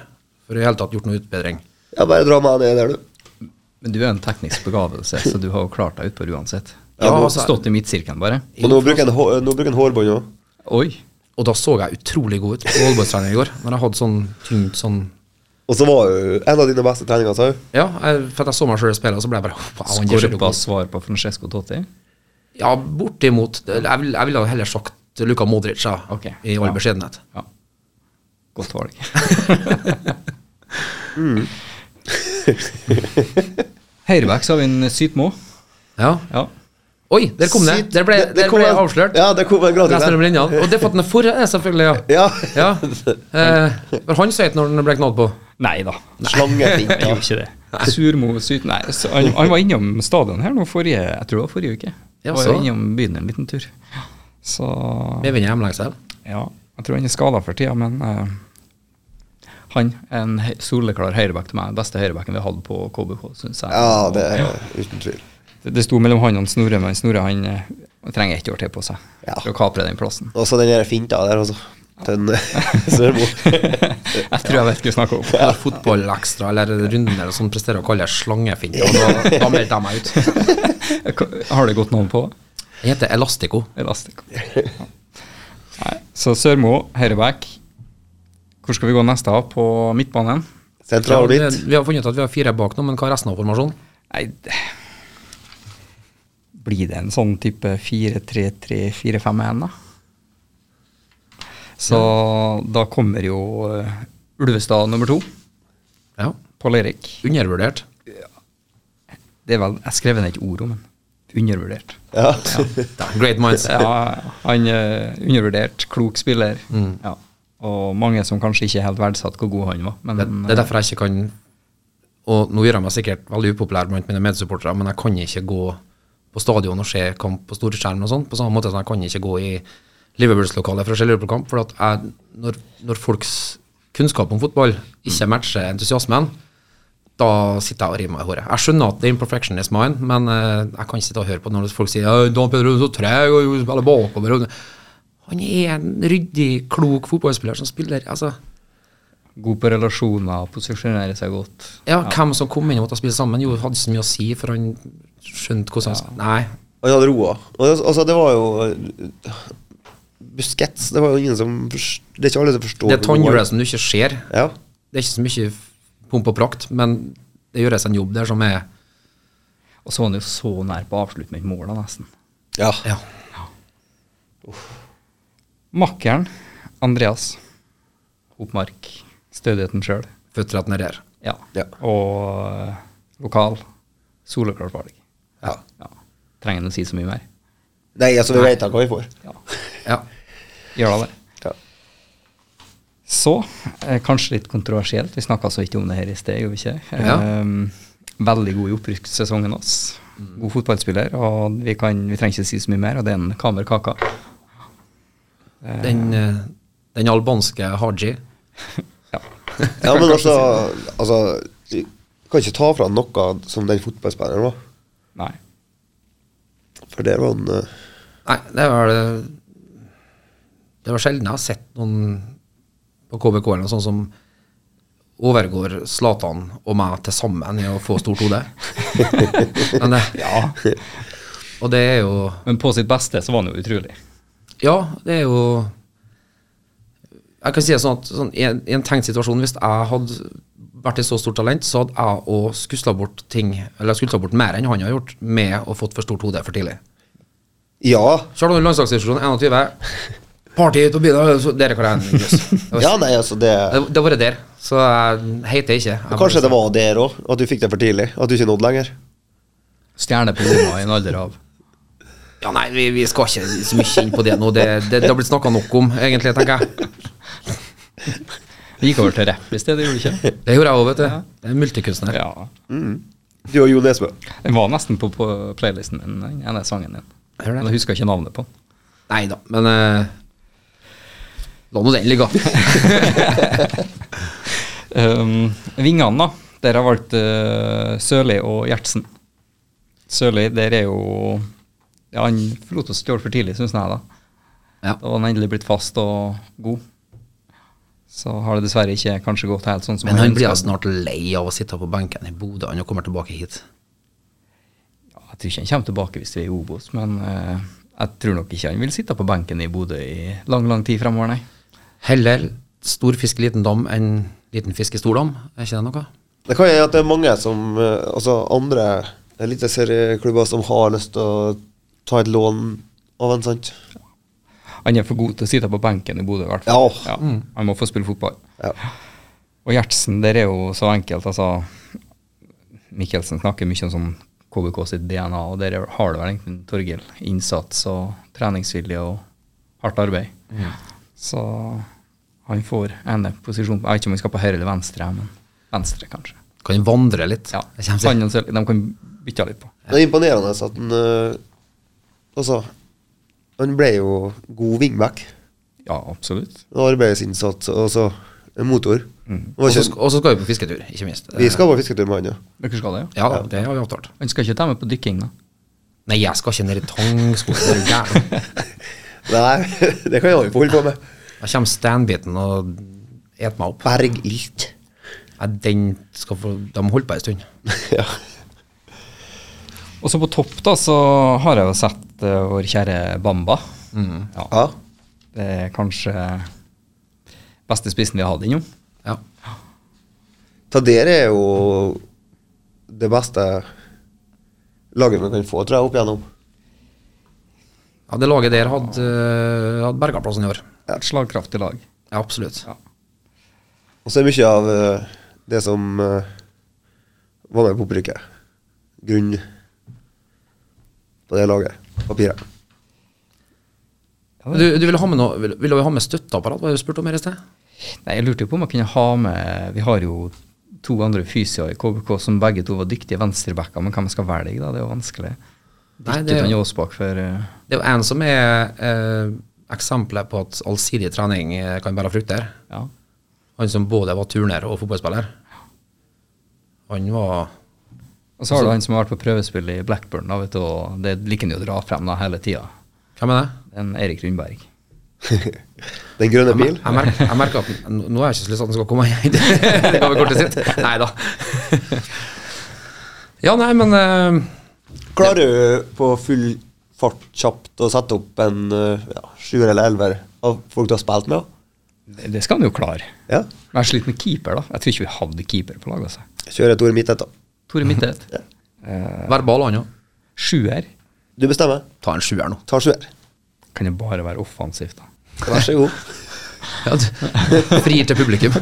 [SPEAKER 1] for å i hele tatt gjort noe utbedring.
[SPEAKER 2] Ja, bare dra meg ned der, du.
[SPEAKER 5] men du er jo en teknisk begavelse, så du har jo klart deg utpå uansett.
[SPEAKER 1] Ja,
[SPEAKER 5] du har
[SPEAKER 1] altså-
[SPEAKER 5] stått i midtsirkelen, bare.
[SPEAKER 2] Og nå bruker jeg en hå- nå bruker jeg en hårbånd òg.
[SPEAKER 5] Oi.
[SPEAKER 1] Og da så jeg utrolig god ut på håndballtrening i går, når jeg hadde sånn tynt sånn
[SPEAKER 2] Og så var jo en av dine beste treninger, sa hun.
[SPEAKER 1] Ja, jeg, for at jeg så meg sjøl i speilet, og så ble jeg bare wow, han er skikkelig
[SPEAKER 5] Skorpa
[SPEAKER 1] god.
[SPEAKER 5] svar på Francesco Totti.
[SPEAKER 1] Ja, bortimot. Jeg, vil, jeg ville ha heller sagt Luka Modric, ja,
[SPEAKER 5] Ok,
[SPEAKER 1] i all
[SPEAKER 5] ja.
[SPEAKER 1] beskjedenhet.
[SPEAKER 5] Ja. Godt valg. Mm. Høyreback så har vi en Sytmo.
[SPEAKER 1] Ja.
[SPEAKER 5] Ja.
[SPEAKER 1] Oi, der kom det!
[SPEAKER 2] Sitt-
[SPEAKER 1] Der ble, der
[SPEAKER 2] kom
[SPEAKER 1] ble jeg
[SPEAKER 2] en-
[SPEAKER 1] avslørt.
[SPEAKER 2] Ja, det kom en gratis
[SPEAKER 1] Lest
[SPEAKER 2] her.
[SPEAKER 1] mellom linjene. Og det er for at den er forrige, er selvfølgelig, ja.
[SPEAKER 2] Ja.
[SPEAKER 1] Ja. Eh, var han søt når han ble knadd på?
[SPEAKER 5] Nei da.
[SPEAKER 2] Slangefink.
[SPEAKER 5] Jeg gjorde ikke det. Surmo Syt... Nei, så han, han var innom stadion her nå forrige Jeg tror det var forrige uke.
[SPEAKER 1] Ja,
[SPEAKER 5] var
[SPEAKER 1] så.
[SPEAKER 5] jo innom byen en liten tur. Så
[SPEAKER 1] Med vind i hjemlengsel.
[SPEAKER 5] ja. Jeg tror han er skada for tida, men eh, han er en he- soleklar høyreback til meg. Den beste høyrebacken vi har hatt på KBK, syns jeg.
[SPEAKER 2] Ja, det er uten tvil.
[SPEAKER 5] Det, det sto mellom han og Snorre, men Snorre han, eh, trenger ett år til på seg
[SPEAKER 2] Ja.
[SPEAKER 5] for å kapre den plassen.
[SPEAKER 2] Og så den der finta der, altså. Den Sørmo.
[SPEAKER 5] Jeg tror jeg vet hva du snakker om.
[SPEAKER 1] Eller fotballekstra, eller runden eller sånn, presterer å kalle det slangefinte. Og da, da meldte jeg meg ut.
[SPEAKER 5] Har du godt navn på det?
[SPEAKER 1] Jeg heter Elastico.
[SPEAKER 5] Elastic. Ja. Nei, så Sørmo, høyreback. Hvor skal vi gå neste? av? På midtbanen?
[SPEAKER 2] Sentral
[SPEAKER 1] Ja,
[SPEAKER 2] midt.
[SPEAKER 1] det- vi har funnet ut at vi har fire bak nå, men hva er resten av formasjonen?
[SPEAKER 5] Nei, det Blir det en sånn type 4-3-3-4-5-1, da? Så da kommer jo eh, Ulvestad nummer to,
[SPEAKER 1] Ja.
[SPEAKER 5] Pål Erik.
[SPEAKER 1] Undervurdert.
[SPEAKER 5] Det er vel, Jeg skrev ned et ord om den. Undervurdert.
[SPEAKER 2] Ja.
[SPEAKER 1] Great minds.
[SPEAKER 5] Ja, han er undervurdert, klok spiller. Ja. Og mange som kanskje ikke helt verdsatte hvor god han var. Men
[SPEAKER 1] Det, det er derfor jeg ikke kan Og nå gjør jeg meg sikkert veldig upopulær blant mine medsupportere, men jeg kan ikke gå på stadion og se kamp på storskjerm og sånn, på samme måte som jeg kan ikke gå i Liverpools-lokalet for å se Liverpool-kamp. For at jeg, når, når folks kunnskap om fotball ikke matcher entusiasmen, da sitter jeg og river meg i håret. Jeg skjønner at the imperfection is mine, men eh, jeg kan ikke sitte og høre på når folk sier «Ja, Dan Peder er så treg og spiller bakover. og- Han er en ryddig, klok fotballspiller som spiller altså,
[SPEAKER 5] god på relasjoner, posisjonerer seg godt.
[SPEAKER 1] Ja, hvem som kom inn og måtte spille sammen, jo, hadde ikke så mye å si, for han skjønte hvordan han skulle Nei.
[SPEAKER 2] Og han hadde roa. Og det, altså, det var jo eh, Buskets Det var jo ingen som forst- Det er ikke alle som forstår
[SPEAKER 1] Det er
[SPEAKER 2] hvor god han-
[SPEAKER 1] tannhjulet som du ikke ser.
[SPEAKER 2] Ja.
[SPEAKER 1] Det er ikke så mye pomp og prakt, men det gjøres en jobb der som er
[SPEAKER 5] Og så var han jo så nær på å avslutte med et mål, da, nesten.
[SPEAKER 2] ja.
[SPEAKER 1] Ja.
[SPEAKER 5] Makkeren, Andreas Hopmark. Stødigheten sjøl.
[SPEAKER 1] føtter at den er her.
[SPEAKER 5] Ja.
[SPEAKER 2] Ja.
[SPEAKER 5] Og eh, lokal. Soleklart valg.
[SPEAKER 2] ja.
[SPEAKER 5] Ja. Trenger en å si så mye mer?
[SPEAKER 2] Nei, altså, vi vet da hva vi får.
[SPEAKER 5] Ja.
[SPEAKER 1] Ja.
[SPEAKER 5] Gjør da det. Så, eh, kanskje litt kontroversielt, vi snakka så ikke om det her i sted, gjorde vi ikke? det?
[SPEAKER 1] Ja.
[SPEAKER 5] Ehm, veldig god i opprykkssesongen hans. God fotballspiller, og vi, kan, vi trenger ikke si så mye mer, og det er en kamer kaka.
[SPEAKER 1] Den, eh, den albanske Haji.
[SPEAKER 5] Ja.
[SPEAKER 2] Ja, men altså, altså Du kan ikke ta fra han noe som den fotballspilleren var.
[SPEAKER 5] Nei.
[SPEAKER 2] For der var han eh,
[SPEAKER 1] Nei, det var det Det var sjelden jeg har sett noen på KBK eller noe sånt som overgår Zlatan og meg til sammen i å få stort hode. Men det- Og det er jo
[SPEAKER 5] Men på sitt beste så var han jo utrolig.
[SPEAKER 1] Ja, det er jo Jeg kan si det sånn at sånn, i, en, i en tenkt situasjon, hvis jeg hadde vært et så stort talent, så hadde jeg òg skusla bort ting, eller skusla bort mer enn han har gjort, med å fått for stort hode for tidlig.
[SPEAKER 2] Ja!
[SPEAKER 1] Kjørt under landslagsdiskusjon 21. Party ut og begynne så Dere kan jeg Det
[SPEAKER 2] Ja,
[SPEAKER 1] var-
[SPEAKER 2] nei, altså, det
[SPEAKER 1] det har vært der, så jeg heter ikke. Jeg
[SPEAKER 2] Kanskje
[SPEAKER 1] bare-
[SPEAKER 2] det var der òg, at du fikk det for tidlig. At du ikke nådde lenger.
[SPEAKER 5] Stjerne på lomma i en alder av
[SPEAKER 1] Ja, nei, vi, vi skal ikke så mye inn på det nå. Det, det, det har blitt snakka nok om, egentlig, tenker jeg.
[SPEAKER 5] Vi gikk over til rapp i stedet, gjorde vi ikke?
[SPEAKER 1] Det gjorde jeg òg, vet du. Det er en multikunstner.
[SPEAKER 5] Ja.
[SPEAKER 2] Du og Jo Nesbø.
[SPEAKER 5] Den var nesten på, på playlisten min, den ene sangen din.
[SPEAKER 1] Jeg gjør det.
[SPEAKER 5] Men jeg husker ikke navnet på den.
[SPEAKER 1] Nei da, men eh, La nå den ligge.
[SPEAKER 5] Um, vingene, da. Der har jeg valgt eh, Sørli og Gjertsen. Sørli, der er jo ja, Han forlot oss et år for tidlig, syns jeg. Da
[SPEAKER 1] Ja.
[SPEAKER 5] Da var han endelig blitt fast og god. Så har det dessverre ikke kanskje gått helt sånn som
[SPEAKER 1] Men han blir da
[SPEAKER 5] ønsket.
[SPEAKER 1] snart lei av å sitte på benken i Bodø. Han kommer tilbake hit.
[SPEAKER 5] Ja, Jeg tror ikke han kommer tilbake hvis vi er i Obos, men eh, jeg tror nok ikke han vil sitte på benken i Bodø i lang, lang tid fremover, nei.
[SPEAKER 1] Heller stor fisk i liten dam enn liten fisk i stor dam. Er ikke det noe?
[SPEAKER 2] Det kan hende at det er mange som eh, Altså andre eliteserieklubber som har lyst til å ta et lån av en, sant?
[SPEAKER 5] Han er for god til å sitte på benken i Bodø, i hvert fall.
[SPEAKER 2] Ja. Mm.
[SPEAKER 5] han må få spille fotball.
[SPEAKER 2] Ja.
[SPEAKER 5] Og Gjertsen, der er jo så enkelt, altså. Mikkelsen snakker mye om sånn KBK sitt DNA, og der er- har det vel egentlig Torgill. Innsats og treningsvilje og hardt arbeid.
[SPEAKER 2] Mm.
[SPEAKER 5] Så han får ene posisjon Jeg vet ikke om han skal på høyre eller venstre, men venstre, kanskje.
[SPEAKER 1] Kan han vandre litt?
[SPEAKER 5] Ja,
[SPEAKER 1] Det kommer
[SPEAKER 5] han
[SPEAKER 1] seg.
[SPEAKER 5] og Sel- De kan bytte litt på.
[SPEAKER 2] Det er imponerende at han eh, Altså, han ble jo god wingback.
[SPEAKER 5] Ja, absolutt.
[SPEAKER 2] Arbeidsinnsats, altså en motor. Det var
[SPEAKER 1] Mm. Og så
[SPEAKER 2] ikke,
[SPEAKER 1] sk- og så skal vi på fisketur, ikke minst.
[SPEAKER 2] vi skal på fisketur med han, ja.
[SPEAKER 5] Dere skal det, ja?
[SPEAKER 1] Ja, det har vi avtalt.
[SPEAKER 5] Han skal ikke ta med på dykking, da?
[SPEAKER 1] Nei, jeg skal ikke ned i tangskogen. Er du gæren?
[SPEAKER 2] Nei, det kan jeg jo holde på med.
[SPEAKER 1] Da kommer standbiten og et meg opp.
[SPEAKER 2] Bergilt.
[SPEAKER 1] Nei, den skal få, de holder på en stund.
[SPEAKER 2] ja.
[SPEAKER 5] Og så på topp, da, så har jeg jo sett eh, vår kjære Bamba.
[SPEAKER 1] Mm.
[SPEAKER 5] Ja.
[SPEAKER 2] ja.
[SPEAKER 5] Det er kanskje beste spissen vi har hatt innom.
[SPEAKER 1] Ja.
[SPEAKER 2] Tader er jo det beste laget man kan få, tror jeg, opp igjennom.
[SPEAKER 1] ja, det laget der hadde, eh, hadde berga plassen i år.
[SPEAKER 5] Et slagkraftig lag.
[SPEAKER 1] Ja, absolutt.
[SPEAKER 2] Og så er mye av eh, det som eh, var med på opprykket, grunn på det laget. Papiret.
[SPEAKER 1] Du, du ville ha med noe, ville, ville vi ha med støtteapparat, var det du spurte om her i sted?
[SPEAKER 5] Nei, Jeg lurte jo på om jeg kunne ha med Vi har jo to andre fysioer i KBK som begge to var dyktige venstrebacker, men hvem jeg skal velge, da? Det er jo vanskelig.
[SPEAKER 1] Nei,
[SPEAKER 5] Dyttet
[SPEAKER 1] det, er
[SPEAKER 5] han
[SPEAKER 1] jo-
[SPEAKER 5] Aasbakk for eh,
[SPEAKER 1] det er jo en som er eh, eksempelet på at allsidig trening eh, kan bære frukter.
[SPEAKER 5] Ja.
[SPEAKER 1] Han som både var turner og fotballspiller. Han var
[SPEAKER 5] Og så har du han som har vært på prøvespill i Blackburn, da, vet du, og det liker han jo å dra frem da hele tida.
[SPEAKER 1] Hvem er det?
[SPEAKER 5] En Erik Rundberg.
[SPEAKER 2] Den grønne
[SPEAKER 1] Jeg, mer-
[SPEAKER 2] bil.
[SPEAKER 1] jeg, merker, jeg merker at n- Nå har jeg ikke så lyst til at den skal komme inn. Det kan vi kortet sitt. Nei da. Ja, nei, men eh,
[SPEAKER 2] Klarer du på full fart kjapt å sette opp en eh, ja, sjuer eller elver av folk du har spilt med?
[SPEAKER 5] Det det skal han jo klare.
[SPEAKER 2] Ja.
[SPEAKER 5] Men jeg sliter med keeper, da. Jeg tror ikke vi hadde keeper på laget. Altså.
[SPEAKER 2] Kjører et ord midt etter.
[SPEAKER 5] Tore Midtvedt.
[SPEAKER 1] verbal han òg.
[SPEAKER 5] Sjuer.
[SPEAKER 2] Du bestemmer.
[SPEAKER 1] Ta en sjuer nå.
[SPEAKER 2] Tar sjuer.
[SPEAKER 5] Kan jo bare være offensivt, da.
[SPEAKER 2] Vær så god.
[SPEAKER 1] Ja, du- Frir til publikum.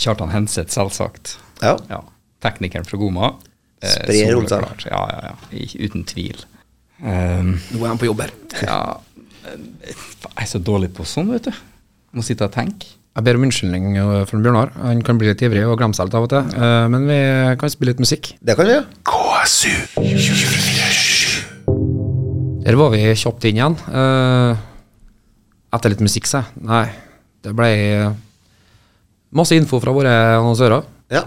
[SPEAKER 5] Kjartan Henseth, selvsagt.
[SPEAKER 2] Ja.
[SPEAKER 5] Ja. Teknikeren fra Goma. Eh,
[SPEAKER 2] Sprer rundt seg.
[SPEAKER 5] soleklart. Ja, ja, ja. I- Uten tvil. Um,
[SPEAKER 1] Nå er han på jobb her.
[SPEAKER 5] ja eh, Jeg er så dårlig på sånn, vet du. Må sitte og tenke.
[SPEAKER 1] Jeg ber om unnskyldning eh, for Bjørnar. Han kan bli litt ivrig og glemme seg litt av og til. Eh, Men vi kan spille litt musikk.
[SPEAKER 2] Det kan vi gjøre.
[SPEAKER 1] Der var vi kjapt inn igjen. Eh, etter litt musikk, sa jeg. Nei, det ble eh, masse info fra våre annonsører.
[SPEAKER 2] Ja.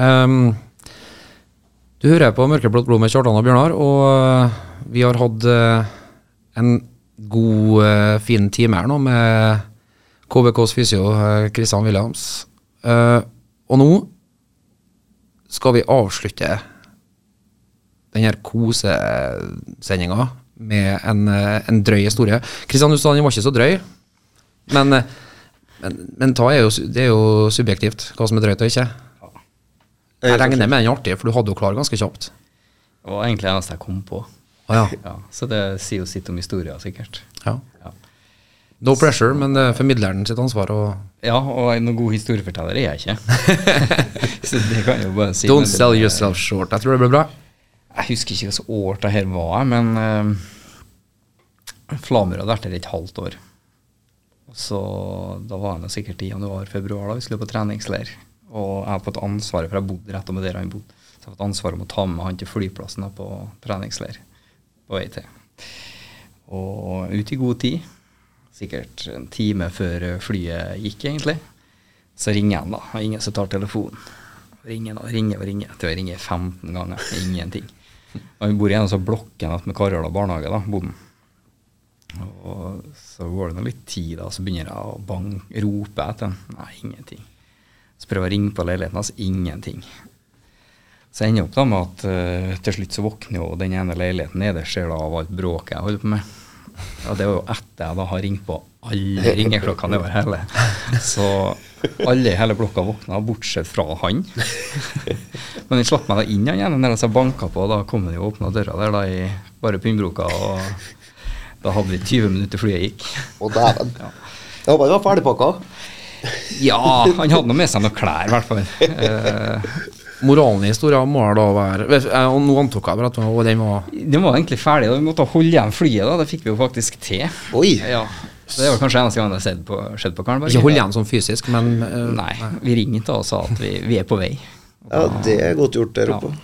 [SPEAKER 1] Ehm, du hører på Mørkeblått blod med Kjartan og Bjørnar, og eh, vi har hatt eh, en god, eh, fin time her nå med KBKs fysio eh, Christian Williams. Eh, og nå skal vi avslutte denne kosesendinga med en, eh, en drøy historie. Kristian, du sa den var ikke så drøy, men, eh, men, men ta er jo, su- det er jo subjektivt hva som er drøyt og ikke. Jeg regner med den er artig, for du hadde jo klar ganske kjapt.
[SPEAKER 5] Det var egentlig det eneste jeg kom på.
[SPEAKER 1] Ah, ja.
[SPEAKER 5] Ja, så det sier jo sitt om historien, sikkert.
[SPEAKER 1] Ja. No pressure, men det er formidleren sitt ansvar å
[SPEAKER 5] Ja, og en god historieforteller er jeg ikke. så det kan jeg jo bare si.
[SPEAKER 1] Don't
[SPEAKER 5] men det-
[SPEAKER 1] sell yourself short. Jeg tror det blir bra.
[SPEAKER 5] Jeg husker ikke hvilket år det her var, men eh, Flamur hadde vært her et halvt år. Og Så da var han jo sikkert i januar-februar, da vi skulle på treningsleir. Og jeg har fått ansvaret, for jeg bodde rett over der han bodde, så jeg har fått ansvaret om å ta med han til flyplassen da, på treningsleir på vei til. Og ut i god tid, sikkert en time før eh, flyet gikk egentlig, så ringer han da. og Ingen som tar telefonen. Ringer og ringer og ringer. Til jeg ringer 15 ganger. Ingenting. Og vi bor i en av sånne blokkene med Karjala barnehage, da, boden. Og så går det nå litt tid, da, så begynner jeg å bang, rope etter han. Nei, ingenting. Så prøver jeg å ringe på leiligheten hans. Ingenting. Så jeg ender opp da med at eh, til slutt så våkner jo den ene leiligheten nederst ser da av alt bråket jeg holder på med. Og det var jo etter jeg da har ringt på alle ringeklokkene over hele. Så alle i hele blokka våkna, bortsett fra han. Men han slapp meg da inn han igjen mens jeg banka på, og da kom han jo og åpna døra der da i bare pinnbroka. Og da hadde vi 20 minutter til flyet gikk.
[SPEAKER 2] Å, dæven. Jeg håper den var ferdigpakka.
[SPEAKER 5] Ja, han hadde nå med seg noen klær, i hvert fall. Eh,
[SPEAKER 1] Moralen i historien må da være Vet- eh, og Nå antok jeg bare at og den var
[SPEAKER 5] Den var egentlig ferdig, da. vi måtte holde igjen flyet. da, Det fikk vi jo faktisk til.
[SPEAKER 2] Oi.
[SPEAKER 5] Ja, så Det var kanskje eneste gang det har skjedd på, skjedd på Karneberg.
[SPEAKER 1] Ikke hold igjen sånn fysisk, men eh,
[SPEAKER 5] Nei, vi ringte og sa at vi, vi er på vei.
[SPEAKER 2] Ja, det er godt gjort der oppe.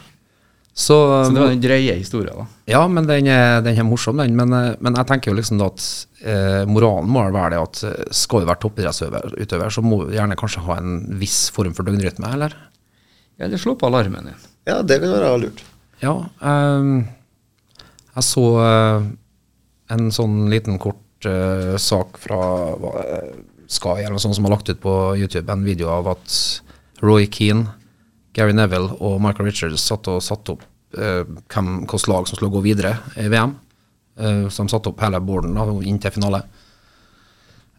[SPEAKER 1] Så,
[SPEAKER 5] Så det var den drøye historien, da.
[SPEAKER 1] Ja, men den er, den er morsom, den. Men, eh, men jeg tenker jo liksom da at eh, moralen må være det at eh, skal du være toppidrettsutøver, utøver, så må du gjerne kanskje ha en viss form for døgnrytme, eller?
[SPEAKER 5] Ja, du slå på alarmen din.
[SPEAKER 2] Ja, det kan være lurt.
[SPEAKER 1] Ja, ehm, jeg så eh, en sånn liten kort eh, sak fra hva, eh, Sky eller noe sånt som har lagt ut på YouTube en video av at Roy Keane, Gary Neville og Michael Richards satt og satt opp eh, hvem, hvilket lag som skulle gå videre i VM. eh, som satte opp hele boarden da, inn til finale.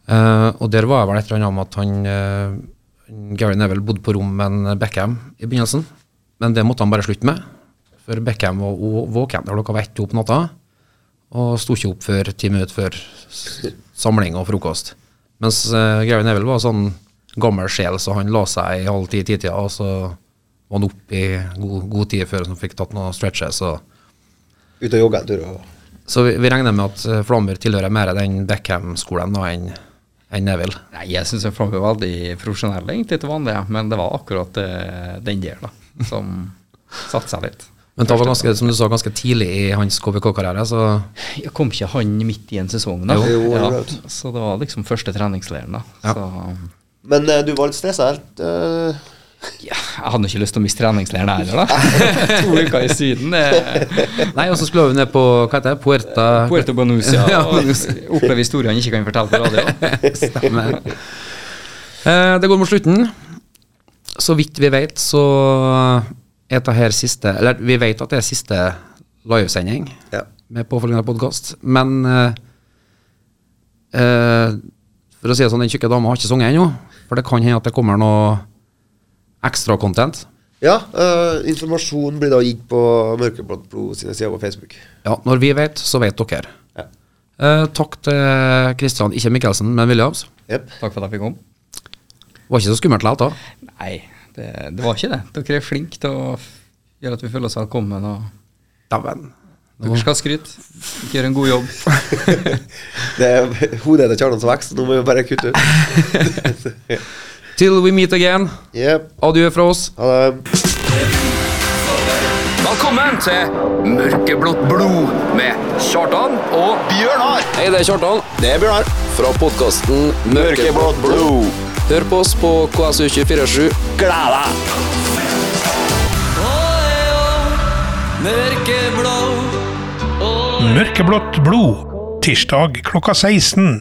[SPEAKER 1] Eh, og der var jeg vel et eller annet om at han eh, Gary Neville bodde på rom med en Beckham i begynnelsen. Men det måtte han bare slutte med. For Beckham var o- våken da klokka var ett opp natta. Og sto ikke opp før ti minutter før s- samling og frokost. Mens eh, Gary Neville var sånn gammel sjel, så han la seg i halv ti-titida, og så var han opp i god, god tid før han fikk tatt noen stretches. og
[SPEAKER 2] Ute og jogge en tur og
[SPEAKER 1] så vi, vi regner med at eh, Flammer tilhører mer den Beckham-skolen da enn enn Neville.
[SPEAKER 5] Nei, jeg syns jeg var veldig profesjonell egentlig til vanlig, ja. men det var akkurat eh, den der da, som satte seg litt.
[SPEAKER 1] Men det var ganske, som du sa, ganske tidlig i hans KBK-karriere, så
[SPEAKER 5] Jeg kom ikke han midt i en sesong, da?
[SPEAKER 2] Jo. Jo,
[SPEAKER 5] ja.
[SPEAKER 2] akkurat.
[SPEAKER 5] Så det var liksom første treningsleiren, da. Så
[SPEAKER 2] Men eh, du var litt stressa helt. eh,
[SPEAKER 5] ja, jeg hadde ikke lyst til å miste treningsleiren heller, da. to uker i Syden. Eh.
[SPEAKER 1] Nei, og så skulle vi ned på hva heter det, Puerta
[SPEAKER 5] Puerto Banusia
[SPEAKER 1] Ja,
[SPEAKER 5] og oppleve historier han ikke kan fortelle på radio.
[SPEAKER 1] Stemmer. Eh, det går mot slutten. Så vidt vi vet, så er dette her siste Eller vi vet at det er siste livesending
[SPEAKER 2] Ja.
[SPEAKER 1] med påfølgende podkast, men eh, eh, For å si det sånn, den tjukke dama har ikke sunget ennå, for det kan hende at det kommer noe ekstra content.
[SPEAKER 2] Ja, eh, informasjon blir da gitt på Mørkeblått blod sine sider på Facebook.
[SPEAKER 1] Ja, når vi vet, så vet dere.
[SPEAKER 2] Ja.
[SPEAKER 1] Eh, takk til Kristian, ikke Mikkelsen, men Williams.
[SPEAKER 2] Jep.
[SPEAKER 5] Takk for at jeg fikk komme.
[SPEAKER 1] Var ikke så skummelt likevel, da.
[SPEAKER 5] Nei, det, det var ikke det. Dere er flinke til å f- gjøre at vi føler oss velkommen. Og
[SPEAKER 1] Dæven.
[SPEAKER 5] Dere skal skryte. Dere gjør en god jobb.
[SPEAKER 2] Det er hodet til Kjartan som vokser, nå må vi bare kutte ut.
[SPEAKER 1] Till we meet again.
[SPEAKER 2] Jep.
[SPEAKER 1] Adjø fra oss.
[SPEAKER 2] Ha det.
[SPEAKER 3] Velkommen til Mørkeblått blod med Kjartan og Bjørnar. Hei, det er Kjartan. Det er Bjørnar. Fra podkasten Mørkeblått blod. Hør på oss på KSU247.
[SPEAKER 4] Mørkeblått blod. Tirsdag klokka 16.